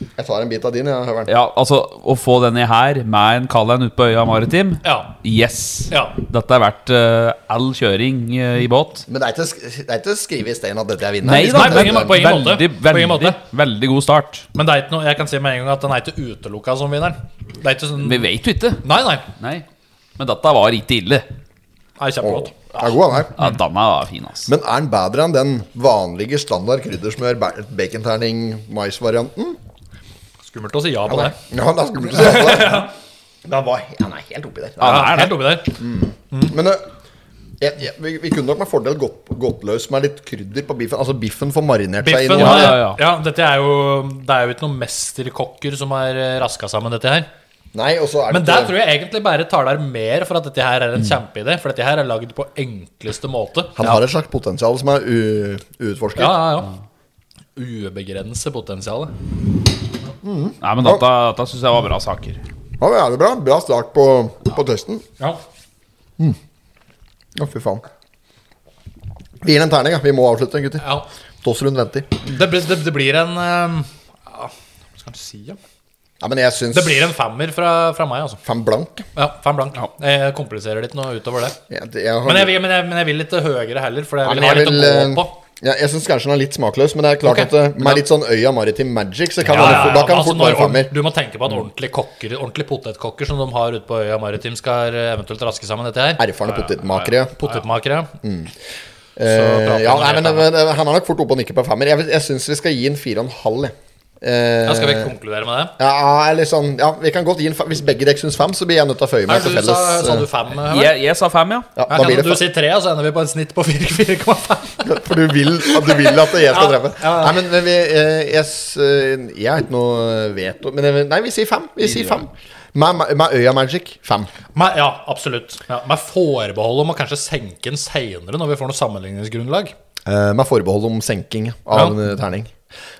Jeg tar en bit av din, jeg, Høveren.
Ja, altså, å få denne her med en Kallen ute på øya Maritim
ja.
Yes!
Ja.
Dette er verdt eh, all kjøring eh, i båt.
Men det er ikke, sk- det er ikke skrevet i stein at dette er vinneren.
Nei
Hvis
da,
det-
men
på ingen måte.
veldig,
På ingen
veldig, veldig god start.
Men det er ikke noe, jeg kan si med en gang at den er ikke utelukka som vinneren. Det er ikke sånn
Vi vet jo ikke.
Nei, nei.
Nei. Men dette var ikke ille.
Det er kjempegodt.
Den er god, han her.
Ja, denne var fin, ass.
Men er den bedre enn den vanlige standard kryddersmør, ba- baconterning-mais-varianten?
Skummelt å si ja på det.
Ja, da skal vi se på det. Den var he- den er helt oppi der.
Ja,
Ja,
det er det.
helt oppi der.
Men ø, jeg, jeg, vi, vi kunne nok med fordel gått, gått løs med litt krydder på biffen. Altså biffen får marinert seg
Biffen
inn.
Ja,
ja,
ja,
ja,
ja.
dette er jo Det er jo ikke noen mesterkokker som har eh, raska sammen dette her.
Nei, og så er
Men
det
der tror jeg egentlig bare taler mer for at dette her er en kjempeidé. For dette her er lagd på enkleste måte.
Han har et slags potensial som er u- uutforsket.
Ja, ja, ja. Ubegrense potensialet.
Nei, men dette, dette syns jeg var bra saker.
Ja, men er det bra? Bra start på, på testen.
Ja.
Å, fy faen. Vi gir den en terning, ja. Vi må avslutte, gutter.
ja.
Tossrund venter.
Det, blir- det, det blir en eh, ja, Hva skal en si, ja?
Ja, men jeg syns
Det blir en femmer fra, fra meg, altså.
fem blank.
Ja, fem blank. Jeg kompliserer litt noe utover det.
Jeg, jeg har,
Men jeg, vil- men, jeg, men jeg vil litt høyere heller, for det
Ja,
vil
men
jeg
jeg
litt å
vil, eh,
gå på.
ja, jeg syns kanskje den er litt smakløs, men det er klart
Ok.
at eh, med litt sånn Øya Maritime Magic, så kan
Ja, ja,
det
ja.
fort- da kan det
Altså,
fort være
når
femmer.
ord- du må tenke på at ordentlige kokker Ordentlige potetkokker som de har ute på øya Maritim, skal eh, eventuelt raske sammen dette her.
Erfarne potetmakere. Mm.
Potetmakere.
Eh,
prater
ja,
vi
nei,
om
men
det.
eh, Han er nok fort oppe og nikker på femmer. Jeg, vil- jeg syns vi skal gi en fire og en halv. jeg. Eh,
Ja, skal vi konkludere med det?
ja, eller sånn, ja, vi kan godt gi en fem. Hvis begge dere syns fem, så blir jeg nødt til å føye
Nei,
meg
du
til felles.
sa, sa
eh,
du fem? Høveren?
Jeg, jeg sa fem, ja.
ja,
Ja,
da
kan
blir
du
det
si tre, og så ender vi på et snitt på 4,5?
fem. For du vil, at du vil at jeg
Ja,
skal treffe.
ja.
Nei, men men vi, eh, jeg, s- eh, jeg har ikke noe veto Men jeg, nei, vi sier fem. Vi sier fem. Med, med- med Øya Magic fem.
Men, ja, absolutt. Ja, med forbehold om å kanskje senke den seinere, når vi får noe sammenligningsgrunnlag.
Eh, med forbehold om senking av
Ja.
en eh, terning.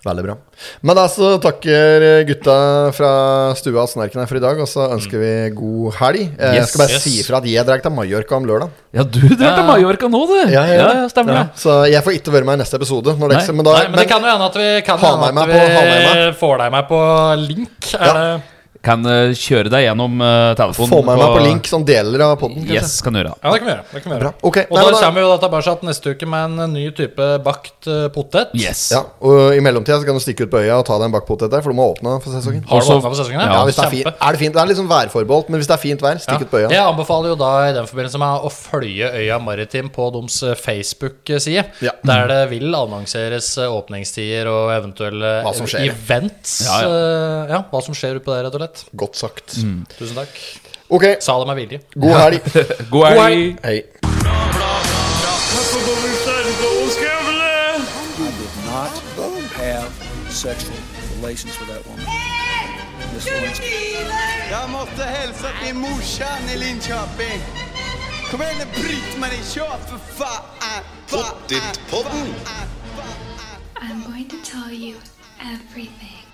Veldig bra. Men da så takker eh, gutta fra stua og Snerken her for i dag, og så ønsker vi god helg. Eh, jeg
Yes,
skal bare
yes.
si ifra at jeg drar til Mallorca om lørdag.
Ja, du drar til Mallorca nå, du. Ja, ja, stemmer det.
Så jeg får ikke være med i neste episode. Når
Nei.
det, men da,
Nei, men, det kan jo hende at vi, kan
Ha
jo hende at
meg med på- ha
vi
meg
får deg med på link. Er
Ja.
det-
Kan eh, kjøre deg gjennom eh, telefonen.
få meg med på link som deler av poden.
Yes, kan du gjøre.
Ja, det kan vi gjøre. Det kan vi gjøre.
Bra.
Og
Ok, nei,
da
men da-
kommer vi jo da tilbake neste uke med en ny type bakt eh, potet.
Yes.
Ja, og I mellomtida så kan du stikke ut på øya og ta deg en bakpotet der, for du må åpne for sesongen.
Har du
Også-
åpnet på sesongen?
Ja, hvis det er, fint, er det fint. Det er liksom værforbeholdt, men hvis det er fint vær, stikk ut på øya.
Jeg anbefaler jo da i den forbindelse med å følge Øya Maritim på deres eh, Facebook-side,
Ja.
der det vil annonseres eh, åpningstider og eventuelle
Hva som skjer.
events.
Ja, ja.
eh, ja, hva som skjer utpå der, rett og slett.
Godt sagt.
Tusen takk.
Ok,
Sa det med vilje.
god helg.
God helg.
helg.
Hei.
I did not have sexual relations with that woman. Miss Lewinsky.
Jag måste hälsa till morsan i Linköping. Kom igen nu Britt-Marie, kör för fan! Pottitpodden!
I'm going to tell you everything.